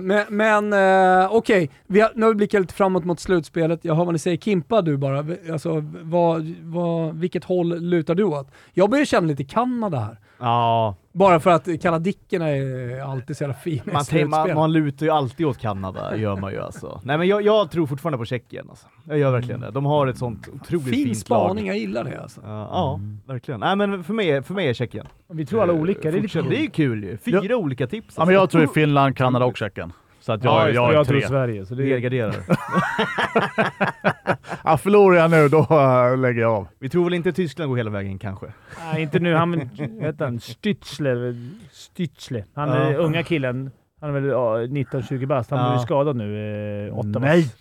men men eh, okej, Vi har- nu har vi blickat lite framåt mot slutspelet. Jag hör vad ni säger. Kimpa du bara, alltså, vad, vad, vilket håll lutar du åt? Jag börjar känna lite Kanada här.
Ja,
Bara för att kanadickerna är alltid så jävla fina
man,
i
tänker- man,
slutspel.
man lutar ju alltid åt Kanada, gör man ju alltså. Nej, men jag, jag tror fortfarande på Tjeckien alltså. Jag gör verkligen det. De har ett sånt otroligt
fin
fint lag.
spaning, jag gillar det alltså.
Ja, ja,
Mm.
verkligen. Nej, men för mig, för mig är Tjeckien.
Vi tror alla olika. Det är lite
Fortsätt. Det är ju kul ju. Fyra olika tips. alltså.
Ja, men jag tror ju Finland, Kanada och Tjeckien. Så att
Ja,
jag,
just
jag,
jag
är
tror
tre.
Sverige. Så det är...
Helgarderar.
<laughs> Ja, förlorar jag nu, då äh, lägger jag av.
Vi tror väl inte Tyskland går hela vägen kanske?
Nej, inte nu. Han, heter han Stützle? Stützle. Han är
Ja.
unga killen. Han är väl ja, 19-20 bast. Han
Ja.
blev ju skadad nu, eh, åtta
Nej.
bast.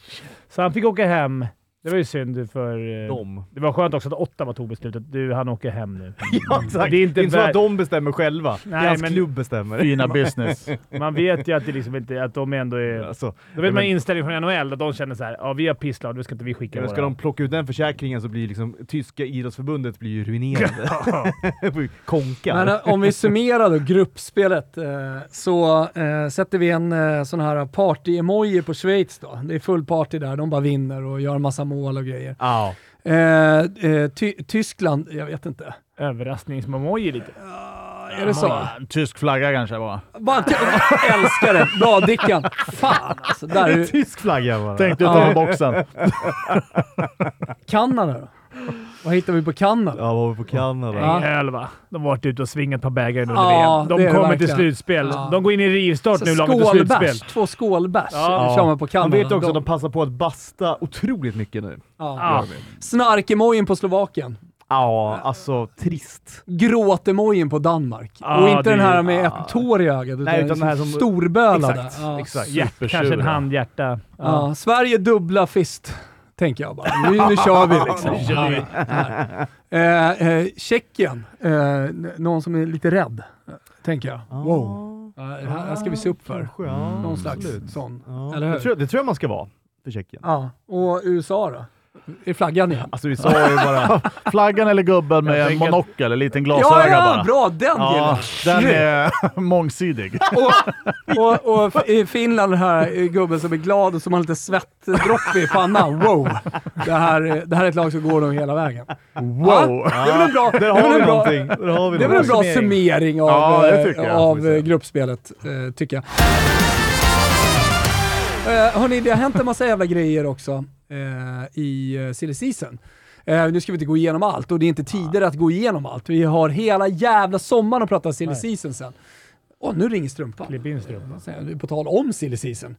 Så han fick åka hem. Det var ju synd för... Eh,
De.
det var skönt också att Ottawa tog beslutet. Du, han åker hem nu.
Ja, exakt. Det är inte, så
vär-
att de bestämmer själva. Nej,
Nej,
Deras
men-
klubb bestämmer.
<laughs>
Fina business.
Man vet ju att, det liksom inte, att de ändå är...
Alltså,
Då vet man
men-
inställningen från NHL, att de känner så här, ja vi har pisslat, nu ska inte vi skicka
men ska de plocka ut den försäkringen så blir liksom tyska idrottsförbundet blir ju ruinerade. <laughs> Får ju Konka.
Men eh, om vi summerar då gruppspelet eh, så eh, sätter vi en eh, sån här party-emoji på Schweiz då. Det är full party där, de bara vinner och gör en massa mål och grejer.
Ja.
Eh, eh, ty- Tyskland, jag vet inte.
Överraskningsmamoji lite.
Är det så?
Tysk flagga kanske bara.
Bara, älskar det! Bra Dickan! Fan alltså, där är ju
Tysk flagga bara.
Tänkte utanför boxen.
Kanada då. Vad hittar vi på Kanada?
Ja, var vi på Kanada?
Ja.
Öl va? De har varit ute och svingat på bägare under
Ja,
VM.
det
De
är det
kommer till
verkligen.
slutspel.
Ja.
De går in i rivstart
Så
nu, laget till slutspel.
Skålbärs, två skålbärs
Ja.
kör man på
Man
Kanada.
vet ju också att de passar på att basta otroligt mycket nu.
ja.
Ja.
Snarkemojin på Slovakien.
Ja, alltså trist.
Gråtemojin på Danmark.
Ja,
och inte
det-
den här med
ja.
ett tår i ögat, utan,
Nej, utan den här
som
som-
storbölade.
Exakt,
Ja.
exakt.
Hjärt, kanske en
Supersura.
hand, hjärta.
Ja. Sverige dubbla fist, tänker jag bara. Nu, nu kör vi liksom.
Nu kör vi.
Ja, här. Eh, eh, Tjeckien, eh, n- någon som är lite rädd, eh, tänker jag. Wow. Ja, det här, här ska vi se upp för.
Kanske, ja,
Någon slags
absolut.
sån.
Ja.
Eller
det,
hur?
tror, jag- det tror jag man ska vara för Tjeckien.
Ja. Och USA då? Är flaggan igen?
Alltså USA är ju bara...
Flaggan eller gubben
Jag
med en
tänker att-
monokel, en liten
Ja,
glasöga
ja,
bara.
bra! Den
Ja,
gillar jag.
den är <laughs> mångsidig.
Och, och f- i Finland den här eh, gubben som är glad och som har lite svettdroppe i pannan. Wow! Det här, eh, det här är ett lag som går dem hela vägen.
Wow!
Ja, det är väl en bra, det
Där
är
har
väl
vi
en bra,
någonting. Där har vi
det är väl en bra
någonting.
summering av,
Ja, det
eh,
tycker jag, får
av
vi
eh,
säga.
gruppspelet, eh, tycker jag. Eh, hörni, det har hänt en massa jävla grejer också eh, i eh, silly season. Eh, nu ska vi inte gå igenom allt och det är inte tider att gå igenom allt. Vi har hela jävla sommaren att prata silly season sen. Åh, nu ringer strumpan.
Klipp in strumpan.
Sen, det är På tal om silly season.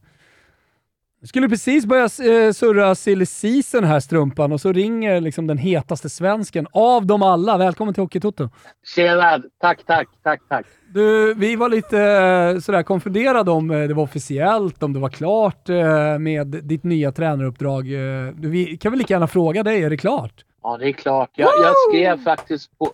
Jag skulle precis börja eh, surra silly season här strumpan och så ringer liksom den hetaste svensken av dem alla. Välkommen till Hockeytoto.
Tjena! Tack, tack, tack, tack.
Du, vi var lite eh, sådär konfunderade om eh, det var officiellt, om det var klart eh, med ditt nya tränaruppdrag. Eh, du, Vi kan väl lika gärna fråga dig, är det klart?
Ja, det är klart. Jag, jag skrev faktiskt på,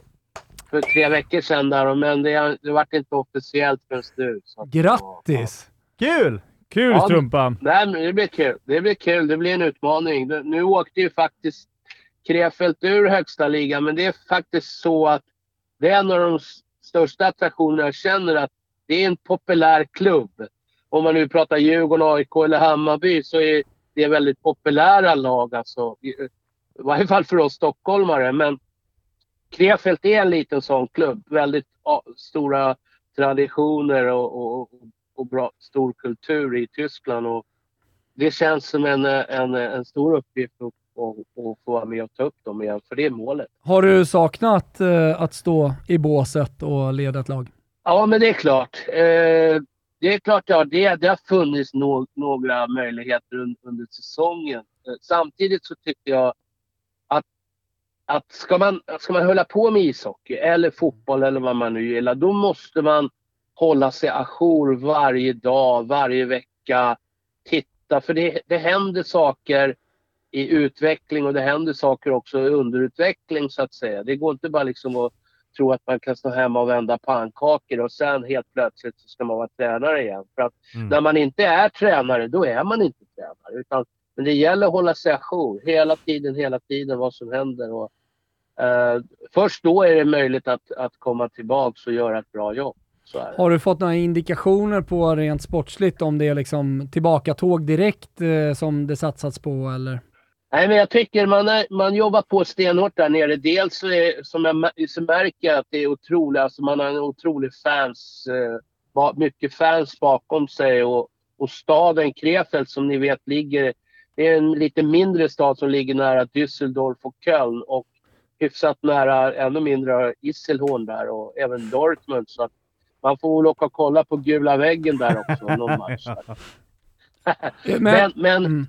för tre veckor sedan där, men det, det vart inte officiellt förrän nu. Så. att-
Grattis!
Kul!
Kul
Ja,
strumpan!
Nej, men det blir kul. Det blir kul. Det blir en utmaning. Nu- Nu åkte ju faktiskt Krefeld ur högsta ligan, men det är faktiskt så att det är en av de s- största attraktionerna jag känner att det är en populär klubb. Om man nu pratar Djurgården, AIK eller Hammarby så är det väldigt populära lag alltså. I i varje fall för oss stockholmare. Men Krefeld är en liten sån klubb. Väldigt ja, stora traditioner och, och, och bra, stor kultur i Tyskland. Och det känns som en, eh, en, eh, en stor uppgift att, att, att få vara med och ta upp dem igen, för det är målet.
Har du saknat eh, att stå i båset och leda ett lag?
Ja, men det är klart. Eh, det är klart, ja, det, det har funnits no, några möjligheter un, under säsongen. Eh, samtidigt så tycker jag att, att ska, man, ska man hålla på med ishockey eller fotboll eller vad man nu gillar, då måste man hålla sig ajour varje dag, varje vecka. Titta, för det, det händer saker i utveckling och det händer saker också i underutveckling så att säga. Det går inte bara liksom att tro att man kan stå hemma och vända pannkakor och sen helt plötsligt så ska man vara tränare igen. För att
Mm.
när man inte är tränare, då är man inte tränare. Utan, men det gäller att hålla sig ajour hela tiden, hela tiden vad som händer. Och, eh, först då är det möjligt att, att komma tillbaks och göra ett bra jobb. Så är det.
Har du fått några indikationer på rent sportsligt om det är liksom tillbaka tåg direkt eh, som det satsats på eller?
Nej, men jag tycker man, är, man jobbar på stenhårt där nere. Dels så är, som jag mä- så märker jag att det är otroligt, alltså man har en otrolig fans, eh, ba- mycket fans bakom sig och, och staden Krefeld som ni vet ligger, det är en lite mindre stad som ligger nära Düsseldorf och Köln och hyfsat nära, ännu mindre, Isselhorn där och även Dortmund. Så att man får väl åka och kolla på gula väggen där också någon match.
Eh,
Men, men
mm.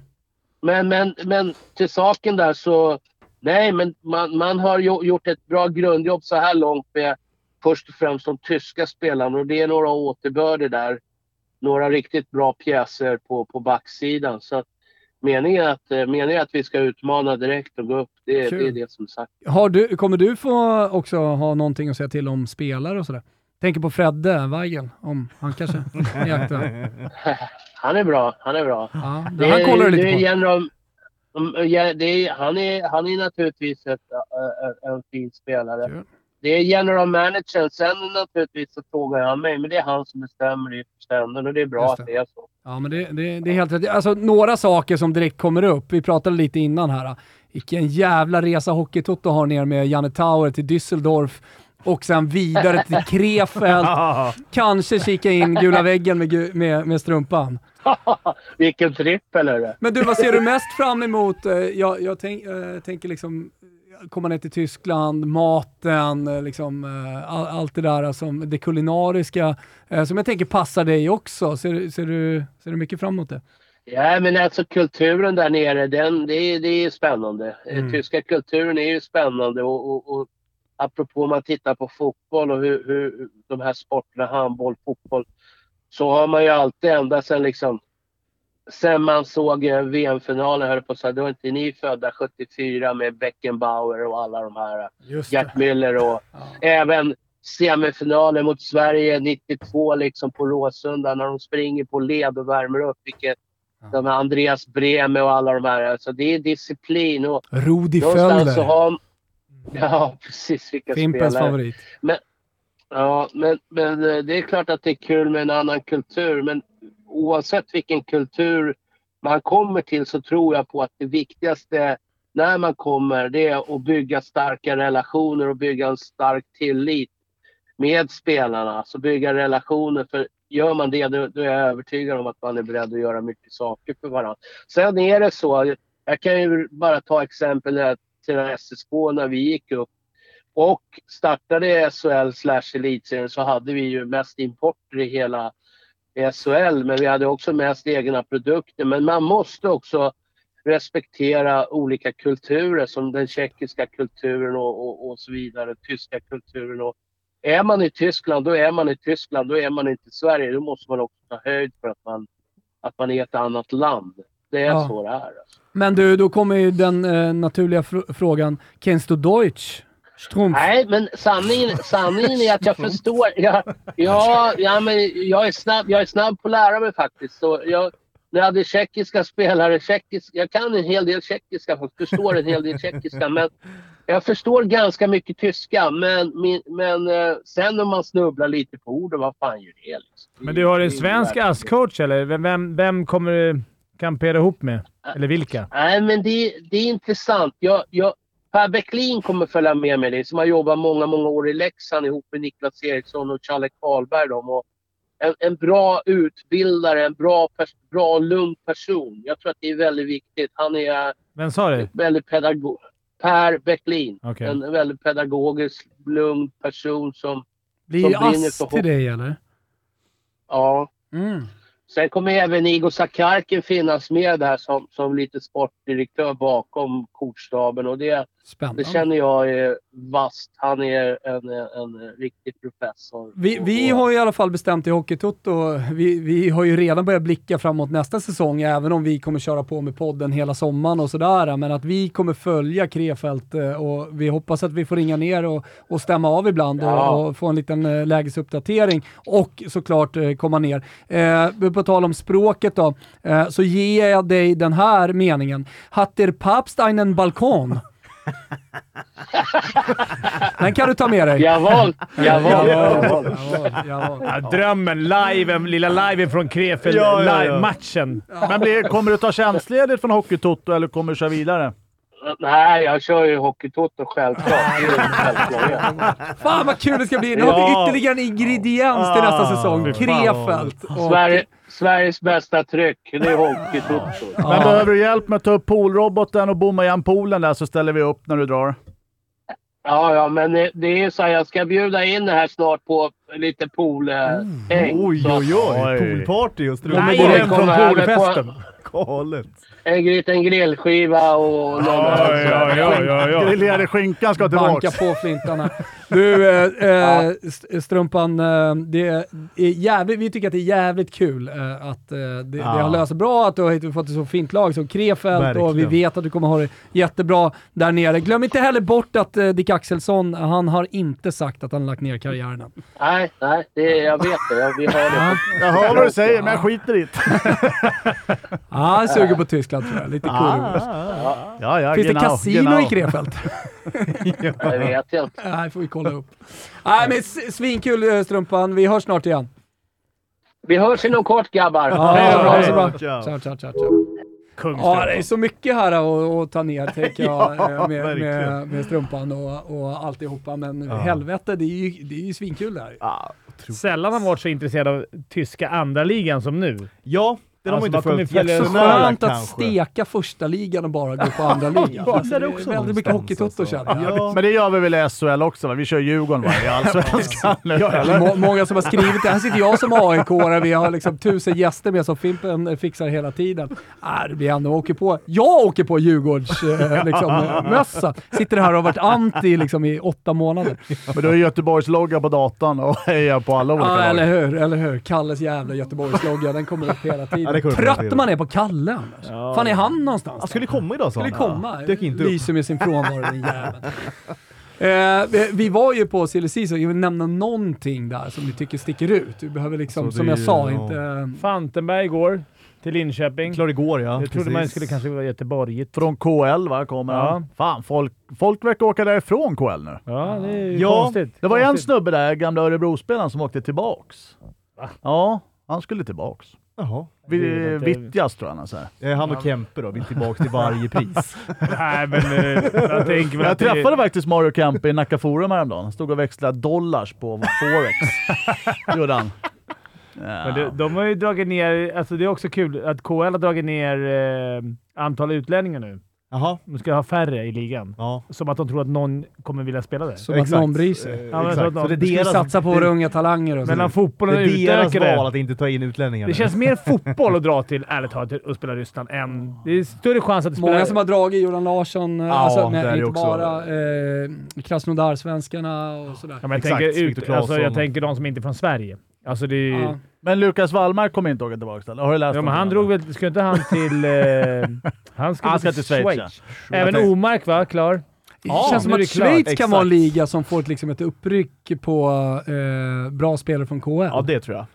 men, men, men till saken där så... Nej, men man, man har ju, gjort ett bra grundjobb så här långt med först och främst de tyska spelarna och det är några återbörder där. Några riktigt bra pjäser på, på backsidan. Så att, meningen, är att, eh, meningen är att vi ska utmana direkt och gå upp. Det, det är
Kul.
det som sagt.
Har du, kommer du få också ha någonting att säga till om spelare och sådär? Tänker på Fredde Weigen, om han kanske är aktuell.
Han är bra. Han är bra.
Ja,
Det
det,
är,
han kollar du
det är
lite på.
General, Mm, ja, det är, han, är, han är naturligtvis ett, äh, äh, en fin spelare.
Kul.
Det är general managern. Sen naturligtvis så frågar han mig, men det är han som bestämmer i ständen och det är bra
Just det.
att det är så.
Ja, men det, det, det är helt rätt. Alltså, några saker som direkt kommer upp. Vi pratade lite innan här. Vilken jävla resa Hockeytoto har ner med Janne Tauer till Düsseldorf och sen vidare till <laughs> Krefeld. Kanske kika in gula väggen med, gu- med, med strumpan.
Vilken trippel är det?
Men du, vad ser du mest fram emot? Eh, Jag, jag tänk, eh, tänker liksom eh, komma ner till Tyskland, maten, eh, liksom, eh, all, allt det där alltså, det kulinariska eh, som jag tänker passar dig också. Ser, du- ser, du, ser du mycket fram emot det?
Ja, men alltså kulturen där nere, den, det, är, det är spännande. Eh,
Mm.
Tyska kulturen är ju spännande och, och, och apropå om man tittar på fotboll och hur, hur de här sporterna, handboll, fotboll, så har man ju alltid ända sedan liksom Sen man såg eh, VM-finalen, höll jag på att säga, då är inte ni födda 74 med Beckenbauer och alla de här. eh,
Just
Gert Müller och även semifinalen mot Sverige 92 liksom på Råsunda när de springer på led och värmer upp. Vilket de här Andreas Brehme och alla de här. Alltså det är disciplin och
Rudi
någonstans så
Föller,
har... Ja, precis. Vilka
Mm. Fimpens
spelare.
favorit.
Ja, men, men eh, det är klart att det är kul med en annan kultur. Men oavsett vilken kultur man kommer till så tror jag på att det viktigaste när man kommer det är att bygga starka relationer och bygga en stark tillit med spelarna. Alltså bygga relationer. För gör man det då, då är jag övertygad om att man är beredd att göra mycket saker för varandra. Sen är det så. Jag kan ju bara ta exempel där till SSK när vi gick upp. Och startade SHL slash elitserien så hade vi ju mest importer i hela SHL. Men vi hade också mest egna produkter. Men man måste också respektera olika kulturer som den tjeckiska kulturen och, och, och så vidare. Tyska kulturen. Och är man i Tyskland, då är man i Tyskland. Då är man inte i Sverige. Då måste man också ta höjd för att man, att man är ett annat land. Det är
Ja.
så det är. Alltså.
Men du, då kommer ju den eh, naturliga fr- frågan. Kennst du Deutsch? Strumpf?
Nej, men sanningen, sanningen
<laughs>
är att jag förstår. Jag, ja, ja, men jag, är snabb, jag är snabb på att lära mig faktiskt. Så jag, när jag hade tjeckiska spelare, tjeckisk, jag kan en hel del tjeckiska faktiskt, förstår en hel del tjeckiska. Men jag förstår ganska mycket tyska, men, min, men eh, sen om man snubblar lite på orden, vad fan gör det? Liksom?
Men du har
Det
en
är ju
svensk
verkligen-
ASS-coach, eller? Vem, vem, vem kommer du kampera ihop med? Eller vilka?
Nej, men det, det är intressant. Jag, jag, per Bäcklin kommer följa med mig, som har jobbat många, många år i Leksand ihop med Niklas Eriksson och Challe Karlberg. De. Och en, en bra utbildare, en bra, pers- bra lugn person. Jag tror att det är väldigt viktigt. Han är
Vem sa du?
väldigt pedagog. Per Bäcklin.
Okej.
En väldigt pedagogisk, lugn person som... som
Blir
brinner
ass
för
till dig eller?
Ja.
Mm.
Sen kommer även Igor Sakarkin finnas med där som, som lite sportdirektör bakom kortstaben. Och det,
Spännande.
Det känner jag är vasst. Han är en, en riktig professor.
Vi, vi har ju i alla fall bestämt i Hockeytoto, vi, vi har ju redan börjat blicka framåt nästa säsong, även om vi kommer köra på med podden hela sommaren och sådär, men att vi kommer följa Krefeld eh, och vi hoppas att vi får ringa ner och, och stämma av ibland
Ja.
och, och få en liten eh, lägesuppdatering och såklart eh, komma ner. Eh, på tal om språket då, eh, så ger jag dig den här meningen. Hatter Papsteinen Balkon. Den kan du ta med dig.
Javol!
<laughs>
Javol!
Javol, javol, javol.
Ja, drömmen, liven, lilla liven från Krefeld,
Ja, ja, ja.
live-matchen.
Men blir, kommer du ta tjänstledigt från Hockeytoto eller kommer du köra vidare?
Nej, jag kör ju Hockeytoto självklart. Det är en självklarhet.
Fan vad kul det ska bli! Nu har vi
Ja.
ytterligare en ingrediens till nästa
Ah,
säsong.
fy fan.
Krefeld. Och-
Sverige, Sveriges bästa tryck, det är Hockeytoto.
Men
Ja.
behöver du hjälp med att ta upp poolroboten och bomma igen poolen där så ställer vi upp när du drar.
Ja, ja, men det, det är ju så här, jag ska bjuda in det här snart på lite
Mm.
eh, poolhäng.
Oj, oj, oj.
Oj.
Poolparty och strunt.
Nej, det
Liven från
kommer här, det får-
poolfesten.
Galet.
En liten grillskiva och någon
Oj, oj, oj, oj, oj.
Grillerade skinkan ska
Banka
tillbaka.
på flintarna. Du, eh, eh, st- Strumpan, eh, det är jävligt, vi tycker att det är jävligt kul eh, att eh, det, det har löst sig bra, att du har hittat- fått ett så fint lag som Krefeld och vi
Verkligen.
vet att du kommer ha det jättebra där nere. Glöm inte heller bort att eh, Dick Axelsson, han har inte sagt att han lagt ner karriären än.
Nej, nej, det, jag vet det. Jag, vi har det.
Jag hör vad du säger, men jag skiter i det.
Ah, han suger på Tyskland tror jag, lite
Ah.
kurvor.
Ja, ja,
Finns det
genau,
kasino
genau.
i Krefeld?
Jag vet jag inte.
<laughs> Nej, får vi kolla upp. <laughs> Nej, men s- svinkul eh, Strumpan. Vi hörs snart igen.
Vi hörs inom kort grabbar.
Ja,
Hej då.
ha det så bra.
Ciao.
Ciao, ciao, ciao, ciao. Ja, det är så mycket här att, att ta ner tänker jag eh, med, med,
verkligen.
med strumpan och, och alltihopa. Men helvete, det är ju, det är ju svinkul det här.
Ah, otroligt.
Sällan har man varit så intresserad av tyska andra ligan som nu.
Ja, den har
Alltså,
man
man
inte
kommer
följt
följa-
Så
Sådär
skönt att
kanske.
steka första ligan och bara gå på andra ligan.
Ja,
Alltså,
där
det är
också
väldigt mycket
någonstans,
hockeytotto
alltså.
känner jag.
Ja.
Men det gör vi väl i SHL också? Va? Vi kör Djurgården va? i Allsvenskan nu.
Det är må- många som har skrivit det. Här sitter jag som aik och vi har liksom tusen gäster med som Fimpen eh, fixar hela tiden. Äh, det blir ändå, åker på, jag åker på Djurgårds
<laughs>
eh, liksom, eh, mössa. Sitter här och har varit anti liksom, i åtta månader.
<laughs> Men du har Göteborgslogga på datan och hejar på alla olika
Ja,
lag.
Ah, eller hur, eller hur. Kalles jävla Göteborgslogga, den kommer upp hela
Ja,
tiden.
den kommer upp hela
Trött
tiden.
man är på Kalle annars. Fan är han någonstans?
Ah, skulle komma idag sa
Skulle
han.
komma.
Dök inte upp.
Lyser med sin frånvaro den
<laughs>
jäveln. Eh, vi- vi var ju på Silly Season, jag vill nämna någonting där som ni tycker sticker ut. Du behöver liksom,
Så
som
det
jag
är-
sa,
ja.
inte... eh,
Fantenberg går till Linköping.
Klar igår ja.
Jag trodde man skulle kanske vara göteborgigt.
Från KL va, kommer
Ja.
han. Fan, folk, folk verkar åka därifrån KL nu.
Ja, det är ju
Ja,
konstigt.
Det var en
konstigt.
snubbe där, gamla Örebrospelaren, som åkte tillbaks. Ja, han skulle tillbaks.
Jaha.
Det är
Vi-
inte-
Vittjas tror jag han säger.
Eh, Han och Kempe då, vill tillbaka till varje pris.
Nej, men eh, jag tänker väl
Jag
att
träffade faktiskt Mario Kempe i Nacka Forum häromdagen. Han stod och växlade dollars på
<laughs>
Forex. Det gjorde han.
Men det, de har ju dragit ner... Alltså det är också kul att KL har dragit ner eh, antal utlänningar nu.
Jaha.
De ska ha färre i ligan.
Ja.
Som att de tror att någon kommer vilja spela där.
Som att någon bryr sig.
Eh,
Ja, men
Exakt.
så att
Så det är
Vi
deras,
satsa på våra
det,
unga talanger och så.
Mellan fotbollen
det
och
är deras val
utökare.
att inte ta in utlänningar.
Det känns mer fotboll att dra till, ärligt talat, och spela Ryssland än... Det är större chans att du spelar...
Många som har dragit Jordan Larsson, eh,
Ja,
alltså,
där är
nej, inte
också-
bara eh, Krasnodar-svenskarna och sådär.
Ja, men jag,
Exakt,
tänker
Viktor
ut, alltså, jag
Claesson.
tänker de som inte är från Sverige. Alltså det är ju...
Ja.
Men Lukas Wallmark kommer inte åka tillbaka eller? Har du läst
Ja, men
någonting
han
om
drog
det?
väl... Ska inte han till... Eh, han ska,
Han ska till Schweiz,
Även
Jag tänkte-
Omark va? Klar?
det känns som
nu är
att
det klart.
Schweiz kan
Exakt.
vara en liga som får ett, liksom, ett uppryck på eh, bra spelare från KL.
Ja, det tror jag.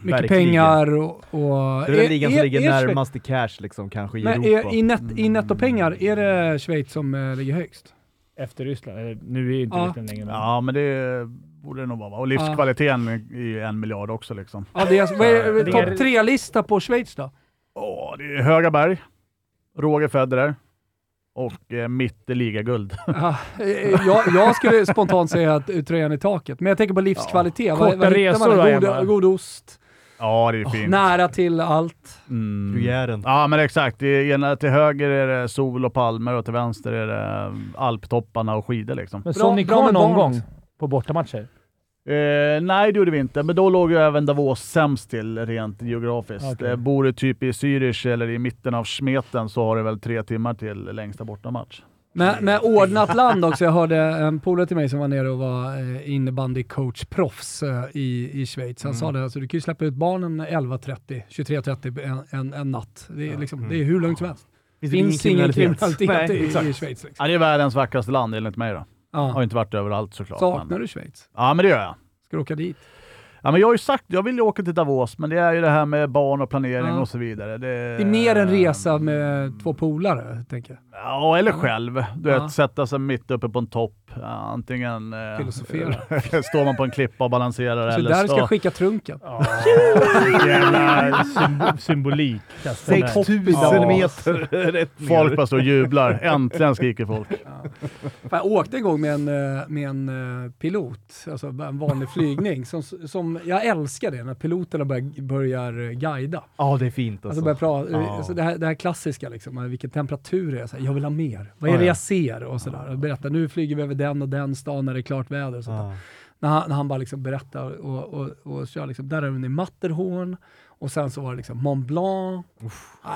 Mycket
verkligen.
pengar och... och
Det är den ligan som ligger
Schweiz-
närmast i cash liksom, kanske i
Men
Europa.
är, i, net,
Mm.
i nettopengar, är det Schweiz som eh, ligger högst?
Efter Ryssland. Eller, nu är ju inte
Ja.
Ryssland längre. men-
Ja, men det borde det nog vara. va? Och livskvaliteten i en miljard också liksom.
Ja, det
<laughs>
är, vad är
det-
topp tre-lista på Schweiz då?
Åh, det är Högaberg, Roger Federer och eh, mitt i ligaguld. <laughs>
Ja, eh, jag, jag skulle spontant säga att eh, tröjan i taket, men jag tänker på livskvalitet.
Korta
hittar man?
resor då, Emma.
god, god ost,
Ja, det är fint.
nära till allt.
Mm.
Gruyären.
Ja, men exakt. Det ena, till höger är det sol och palmer och till vänster är det eh, alptopparna och skidor liksom.
Men
Bra-
såg ni
bra
kvar
med
någon
barnet.
gång på bortamatcher?
Eh, nej, det gjorde vi inte, men då låg ju även Davos sämst till rent geografiskt.
Okej.
Eh, bor du typ i Zürich eller i mitten av smeten så har du väl tre timmar till längsta bortamatch.
Men, men ordnat land också. Jag hörde en polare till mig som var nere och var eh, innebandycoachproffs eh, i, i Schweiz.
Mm.
Han sa det, alltså, du kan ju släppa ut barnen 11.30, 23.30 en, en, en natt. Det är,
Mm.
liksom, det är hur lugnt som helst.
Finns det
Finns ingen kriminalitet
Nej,
i, i
exakt.
Schweiz. Liksom.
Ja, det är världens vackraste land enligt mig då. Har
Ja.
ju inte varit överallt såklart.
Saknar
men...
du Schweiz?
Ja, men det gör jag.
Ska du åka dit?
Ja, men jag har ju sagt, jag vill ju åka till Davos, men det är ju det här med barn och planering
Ja.
och så vidare. Det,
Det är mer en resa med två polare, tänker jag.
Ja, eller själv. Du
Ja.
vet, sätta sig mitt uppe på en topp. Ja, antingen eh,
Filosofera.
<laughs> står man på en klippa och balanserar
Så
eller
där
så...
ska jag skicka trunken.
Jävla symb symbolik. Alltså, den här.
Tusen
<laughs> Folk bara står och jublar. Äntligen skriker folk.
Jag åkte en gång med en, eh, med en eh, pilot, alltså bara en vanlig flygning. Som, som, jag älskar det när piloterna börjar, börjar eh, guida.
Ja, det är fint
Alltså
alltså.
börjar prata,
Ja.
alltså det, här, det här klassiska, liksom, eh, vilken temperatur det är. Så här, jag vill ha mer. Vad är
Ja,
det
ja.
jag ser? Och så där. Och berätta, nu flyger vi över den och den stan när det är klart väder. Och sånt där.
Ja.
När, han, när han bara liksom berättar och, och, och kör, liksom, där är den i Matterhorn. Och sen så var det liksom Mont Blanc. Nej,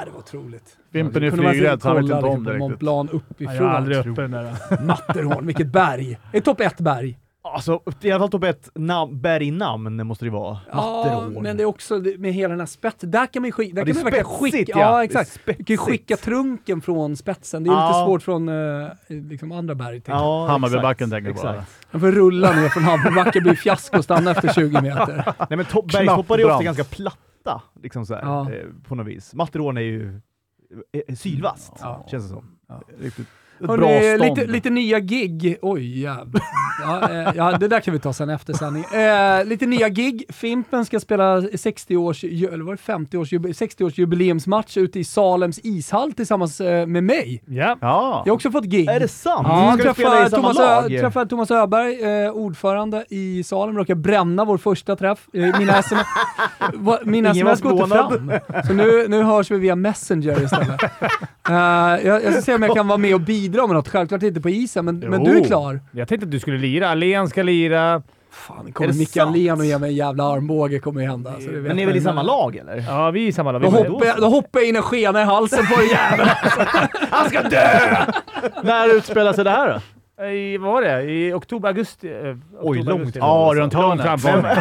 det var otroligt.
Fimpen är
Kunde man
flygrädd, så han vet
kolla
inte om
liksom
det
på Mont
riktigt.
Blanc
Jag är aldrig <laughs>
uppifrån.
uppe den där.
Matterhorn, vilket berg! Det är topp ett berg.
Alltså, i alla fall topp ett nam- bergnamn måste det vara.
Ja, men det är också det- med hela den här spetsen. Där kan man ju skicka... Där
det
kan man
är
verkligen
spetsigt,
skicka,
ja. Det
ja.
är
exakt. Du kan ju
spetsigt.
skicka trunken från spetsen. Det är ju
Ja.
lite svårt från eh, liksom andra berg. Ja.
Ja,
Hammarbybacken
exakt,
tänker jag bara.
exakt.
Man får rulla ner från Hammarbybacken, blir fiasko och stanna efter 20 meter.
Nej men topp- bergstoppar är ofta
brant.
ganska platta, liksom så här,
Ja.
eh, på något vis. Matterhorn är ju eh, eh, sylvast,
Ja.
känns det som.
Riktigt. Ett
Hörrni,
bra stånd.
lite, lite nya gig. Oj jävlar. Ja, eh, ja, det där kan vi ta sen efter sändning. Eh, lite nya gig. Fimpen ska spela 60-års, ju- eller var det 50-års, 60-års jubileumsmatch ute i Salems ishall tillsammans eh, med mig.
Ja.
Ja.
Jag har också fått gig.
Är det sant?
Ja, han
Ska vi spela
träffar
i samma
Thomas, Ö-
lag?
träffar Thomas Öberg, eh, ordförande i salen, råkar bränna vår första träff. Eh,
<laughs>
mina sms, va, mina
Ingen var
sms går inte fram.
förvånad.
Så nu, nu hörs vi via Messenger
<laughs>
istället. Eh, jag, jag ska se om jag kan vara med och bidra med något. Självklart inte på isen, men, men du är
Jo.
klar.
Jag tänkte att du skulle lira. Allén ska lira.
Fan,
Är
kommer
det
Micke
sant?
Allén och ge mig en jävla armbåge kommer ju hända. Så det vet
Men ni är väl i
jag.
samma lag eller?
Ja, vi är i samma lag. Vi
Då
är med.
hoppar, jag, då hoppar jag in en skena i halsen på en jävel.
Han ska dö! <laughs>
När utspelar sig det här då?
I, vad var det? I oktober, augusti? eh, oktober,
långt
augusti.
fram. Ja,
runt
Långt
hörnet.
fram.
<laughs>
Men-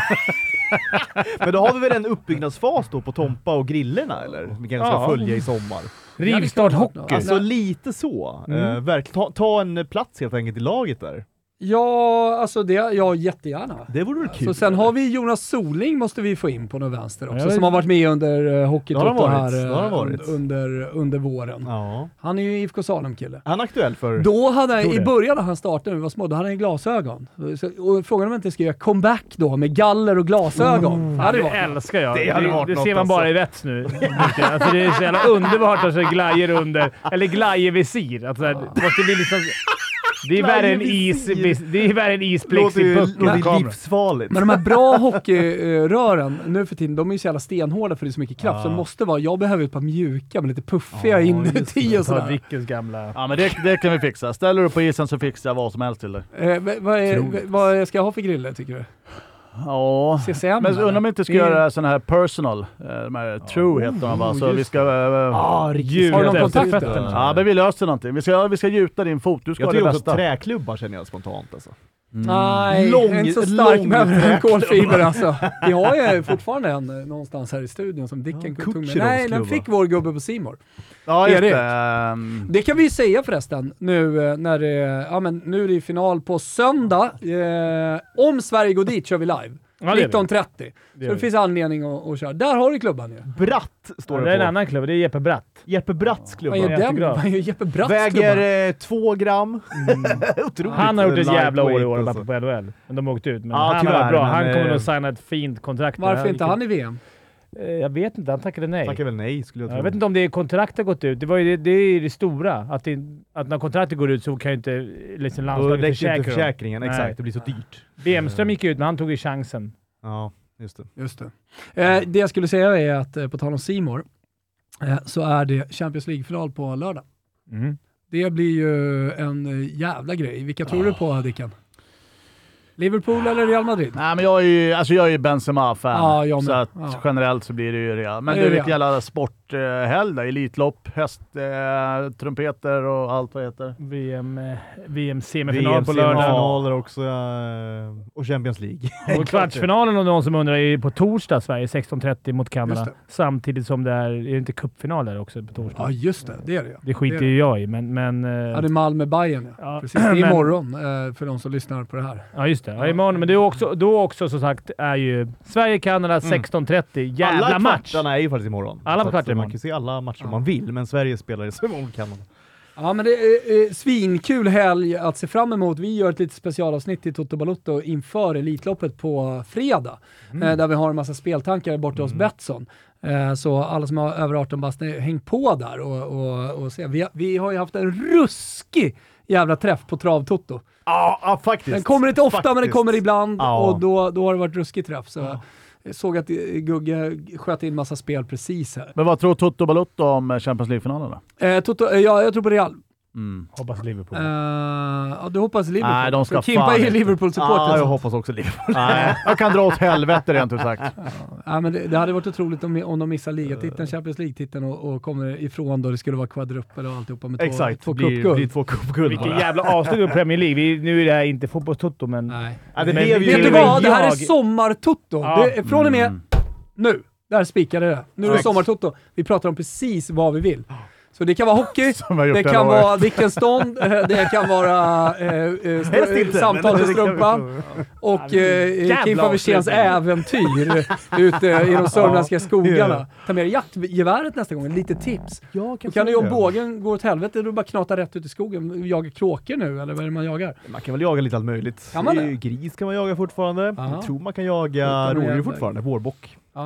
Men då har vi väl en uppbyggnadsfas då på Tompa och grillorna eller? Som vi kanske ska
Ja. Mm.
följa i sommar.
Rivstart hockey.
Alltså lite så. Eh, verkligen. Ta, ta en plats helt enkelt i laget där.
Ja, alltså det, ja jättegärna.
Det vore väl kul?
Så sen har vi Jonas Soling måste vi få in på något vänster också,
Ja, det-
som har varit med under uh,
Ja, det
Hockeytoto
har varit.
här
Det har
eh,
varit.
under, under våren.
Ja.
Han är ju IFK Salem-kille.
Är han aktuell för...
Då hade han,
Tror
I
det.
början när han startade, när vi var små, då hade han glasögon. Så, och frågan om jag inte ska göra comeback då med galler och glasögon. Det hade
Det
varit något.
älskar jag.
alltså. Det hade
Det,
varit
det,
något
ser man bara i vets nu. Alltså, det är så jävla underbart att ha glajjor under. Eller glajjevisir. Alltså, det måste bli liksom... Det är värre än is...
Glajjevisir.
Det är värre än
låter ju
isplexi
låter ju livsfarligt.
men de här bra hockeyrören eh, nu för tiden, de är ju så jävla stenhårda för det är så mycket kraft. Så det måste vara, jag behöver ett par mjuka men lite puffiga
Ja,
inuti och
Ta
sådär.
Dickens gamla...
Ja, men det, det kan vi fixa. Ställer du på isen så fixar jag vad som helst till dig.
Eh, vad- vad, är, vad ska jag ha för grille tycker du?
Ja.
CSN?
Men så undrar
eller?
om vi inte ska
Det är-
göra sådana här personal, eh, de här true heter de va? Så vi ska... eh,
ah, riktigt.
Djur
Har du någon
efter
kontakt?
fötterna.
Mm, Ja, men vi löser någonting. Vi ska, vi ska gjuta din fot. Du ska
Jag
ha det
tycker också
bästa.
träklubbar känner jag spontant alltså.
Mm. Nej,
Mm. Lång-
jag är inte så stark
lång
med
träklubb.
kolfiber
<laughs>
alltså. Vi har ju fortfarande en eh, någonstans här i studion som Dicken
Ja,
tog med.
Kutjerovs
Nej, den
klubba.
fick vår gubbe på Simor.
Ja, just
Ah, Erik.
det. Ehm,
Det kan vi ju säga förresten nu eh, när det, ja men nu är det ju final på söndag. Eh, om Sverige går dit kör vi live.
gör vi.
19.30.
gör
så det
vi.
finns anledning att, att köra. Där har du klubban ju.
Bratt står
Det är
det
en
på.
annan klubb. Det är Jeppe Bratt.
Jeppe Bratts
Vad
klubba.
gör den?
jätteglad.
Vad gör Jeppe Bratts klubba?
Väger eh, två gram. <laughs> Otroligt.
Mm. Han har gjort ett jävla år i år
Lightweight, alltså.
på NHL. Men de har åkt ut. Men
Ja,
han har
tyvärr,
varit bra.
men,
Han kommer
eh,
nog signa ett fint kontrakt.
Varför inte han i VM?
Eh, Jag vet inte. Han tackade nej.
Tackar väl nej skulle jag tro.
Jag vet inte om det är kontraktet har gått ut. Det, var ju det, det är ju det stora. Att, det, att när kontraktet går ut så kan ju inte liksom
Då
landslaget
räcker inte
försäkra dem.
försäkringen.
Nej.
Exakt, det blir så dyrt.
Bemström gick ju ut, men han tog ju chansen.
Ja, just det.
Just det. Eh, det jag skulle säga är att eh, på tal om Simor eh, så är det Champions League-final på lördag.
Mm.
Det blir ju en eh, jävla grej. Vilka tror du på Dicken? Liverpool eller Real Madrid?
Nej, men jag är ju, alltså jag är ju Benzema-fan.
Ja, jag med.
så att
Ja.
generellt så blir det ju Real. Men
Det
det
är
är ju
Real.
ett jävla sporthelg där. Elitlopp, häst, eh, trumpeter och allt vad det heter.
VM, eh, VM semifinal
VM
på lördag.
finaler också eh, och Champions League.
Och kvartsfinalen om någon som undrar är på torsdag. Sverige 16.30 mot Kanada.
Just
Samtidigt som det är... Är det inte cupfinal där också på torsdag?
Ja, just det. Det är det ju.
Det skiter
det.
ju jag i, men... men eh,
Ja, det är Malmö-Bayern ja.
<clears throat> Ja,
Precis, det <clears throat> är
men-
imorgon eh, för de som lyssnar på det här.
<clears throat> ja, just det. Ja, imorgon. Men det är också, då också som sagt är ju Sverige-Kanada
Mm.
16.30. Jävla
alla
match!
kvartarna är ju faktiskt imorgon.
Alla
Så att
kvartar
Man
imorgon.
kan se alla matcher man vill, men Sverige spelar i Sverige mot Kanada.
Ja, Ja, men det är eh, svinkul helg att se fram emot. Vi gör ett litet specialavsnitt i Toto Balotto inför Elitloppet på fredag,
Mm.
eh, där vi har en massa speltankar borta hos Betsson. Eh, så alla som har över 18 bast, ni, häng på där och, och, och se. Vi, har- vi har ju haft en ruskig jävla träff på Travtoto.
Ja, ja, faktiskt.
Den kommer inte ofta, men den
Faktiskt.
kommer ibland
Ja.
och då, då har det varit ruskig träff. Så Jag såg att eh, Gugge sköt in massa spel precis här.
Men vad tror Toto Balotto om eh, Champions League-finalen då?
Eh, Toto, eh, ja, jag tror på Real.
Hoppas Liverpool.
Ah,
Eh, ja, du hoppas Liverpool?
Nej, de
För
ska
Kimpa
fan
är ju
inte.
Liverpool-supporter.
Ja, jag
så-
hoppas
<laughs>
också Liverpool.
Nej, jag kan dra åt helvete rent ut sagt.
Ja, men det, det hade varit otroligt om, om de missar
Eh.
ligatiteln, Champions League-titeln och, och kommer ifrån då det skulle vara kvadrupper och alltihopa med två,
Exakt.
två
Det blir-
cupguld.
blir två cupguld
Vilken
bara.
jävla avslut på Premier League. Vi, nu är det här inte fotbollstoto, men...
Nej.
Ja, det
Men
blev ju...
Vet du
men
vad? Det här är
jag-
sommartotto.
Ja.
Det är Från och med nu. Där spikade det. Nu är det sommartotto. Vi pratar om precis vad vi vill. Så det kan vara hockey,
Som jag gjort
det
hela
kan
året.
vara Dickenstånd, det kan vara eh, eh, str-
Helst inte,
samtal
men-
med strumpan och eh,
jävla
Kim van Wirséns äventyr ute i de sörmländska skogarna. Ta med dig jaktgeväret nästa gång, lite tips.
Ja,
Då kan du ju om bågen går åt helvete, då bara knata rätt ut i skogen. Jagar kråkor nu, eller vad är det man jagar?
Man kan väl jaga lite allt möjligt.
Kan man
Det är ju Gris kan man jaga fortfarande.
Ja.
Jag tror man kan
kan
jaga
man
rådjur
jaga.
fortfarande. Vårbock. Eh,
Ja.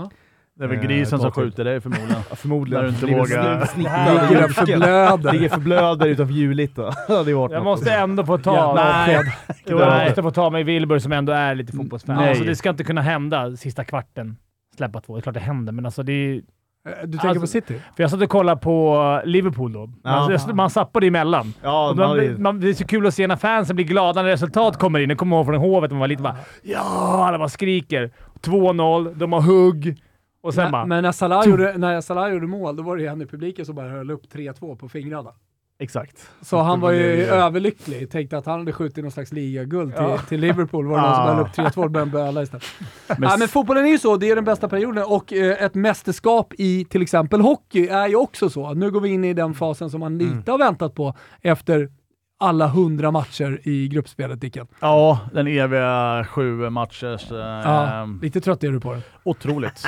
Eh,
Det är väl grisen som skjuter dig förmodligen.
Ja, förmodligen.
När du inte
Ligger och
vågar.
sn- snittar i
Ligger och
busken.
förblöder.
Ligger förblöder utanför Julit då. <laughs> Det hade ju varit
Jag
något.
måste ändå få ta...
Jävla
<laughs>
Nej. Jo, jag
Nej.
måste få ta mig Wilbur som ändå är lite fotbollsfan.
Nej.
Alltså, det ska inte kunna hända sista kvarten. Släppa två. Det är klart det händer, men alltså det är,
Eh, Du tänker på
Alltså-
City?
För jag satt och kollade på Liverpool då. Man, jag, man zappade emellan.
Ja,
Och
man hade
man,
ju-
man, det är så kul att se när fansen blir glada när resultat kommer in. Jag kommer ihåg från Hovet, man var lite bara “Ja!” Alla bara skriker. 2-0, de har hugg. Och sen bara...
Men, men när, Salah gjorde, när Salah gjorde mål, då var det ju han i publiken som bara höll upp 3-2 på fingrarna.
Exakt.
Så han var ju
blev-
överlycklig. Tänkte att han hade skjutit någon slags ligaguld till, till Liverpool. Var det någon som
Ja.
höll upp 3-2 och började böla istället. Ah. <laughs> Men, ja, men fotbollen är ju så, det är den bästa perioden och eh, ett mästerskap i till exempel hockey är ju också så. Nu går vi in i den fasen som man lite har väntat på efter alla hundra matcher i gruppspelet, Dicken.
Ja, den eviga sju matchers... Eh,
Ja, lite trött är du på det.
Otroligt.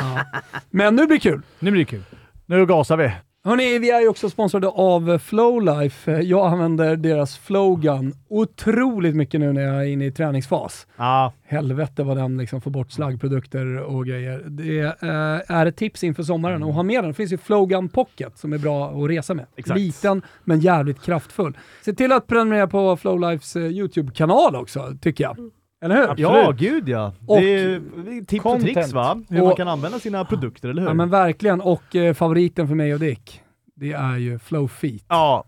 Men nu blir det kul!
Nu blir det kul.
Nu gasar vi.
Hörni, vi är ju också sponsrade av Flowlife. Jag använder deras Flowgun otroligt mycket nu när jag är inne i träningsfas.
Ja,
Helvete vad den liksom får bort slaggprodukter och grejer. Det eh, är ett tips inför sommaren och ha med den. Det finns ju Flowgun Pocket som är bra att resa med.
Exakt.
Liten men jävligt kraftfull. Se till att prenumerera på Flowlifes eh, YouTube-kanal också, tycker jag. Mm. Eller hur?
ja gud ja.
Och-
det är det är tips och
Content.
tricks va? Hur
Och-
man kan använda sina produkter, eller hur?
Ja, men verkligen. Och eh, favoriten för mig och Dick, det är ju Flowfeet.
Ja.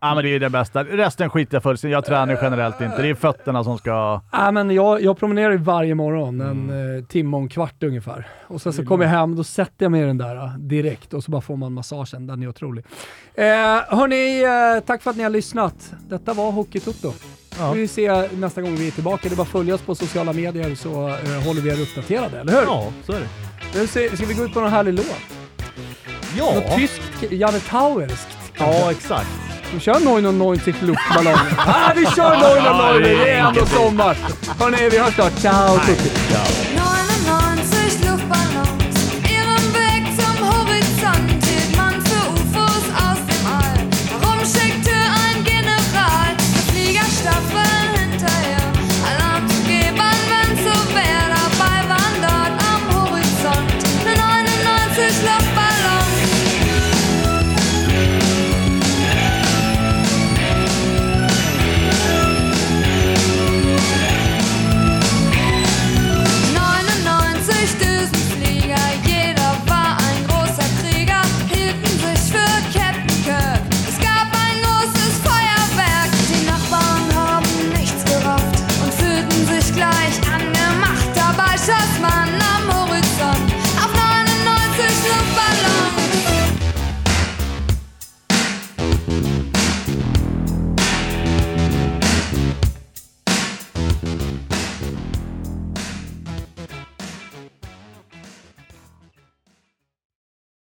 Ja, men det är det bästa. Resten skiter jag fullständigt Jag tränar ju generellt inte. Det är fötterna som ska...
Ja, men jag, jag promenerar ju varje morgon, en eh, timme och en kvart ungefär. Och sen så kommer jag hem, då sätter jag mig i den där eh, direkt och så bara får man massagen. Den är otrolig. Eh, hörni, eh, tack för att ni har lyssnat. Detta var Hockeytoto. Ja. Vi se nästa gång vi är tillbaka. Det är bara att följa oss på sociala medier så eh, håller vi er uppdaterade, eller hur?
Ja, så är det.
Nu se, ska vi gå ut på någon härlig låt? Något
Ja,
tyskt, Janne Tauerskt.
ja exakt.
Vi kör Neuner 90 Luftballon. ah, vi kör Neuner 90, det är ändå sommar. Hörni, vi hörs snart. Ciao! Tutti.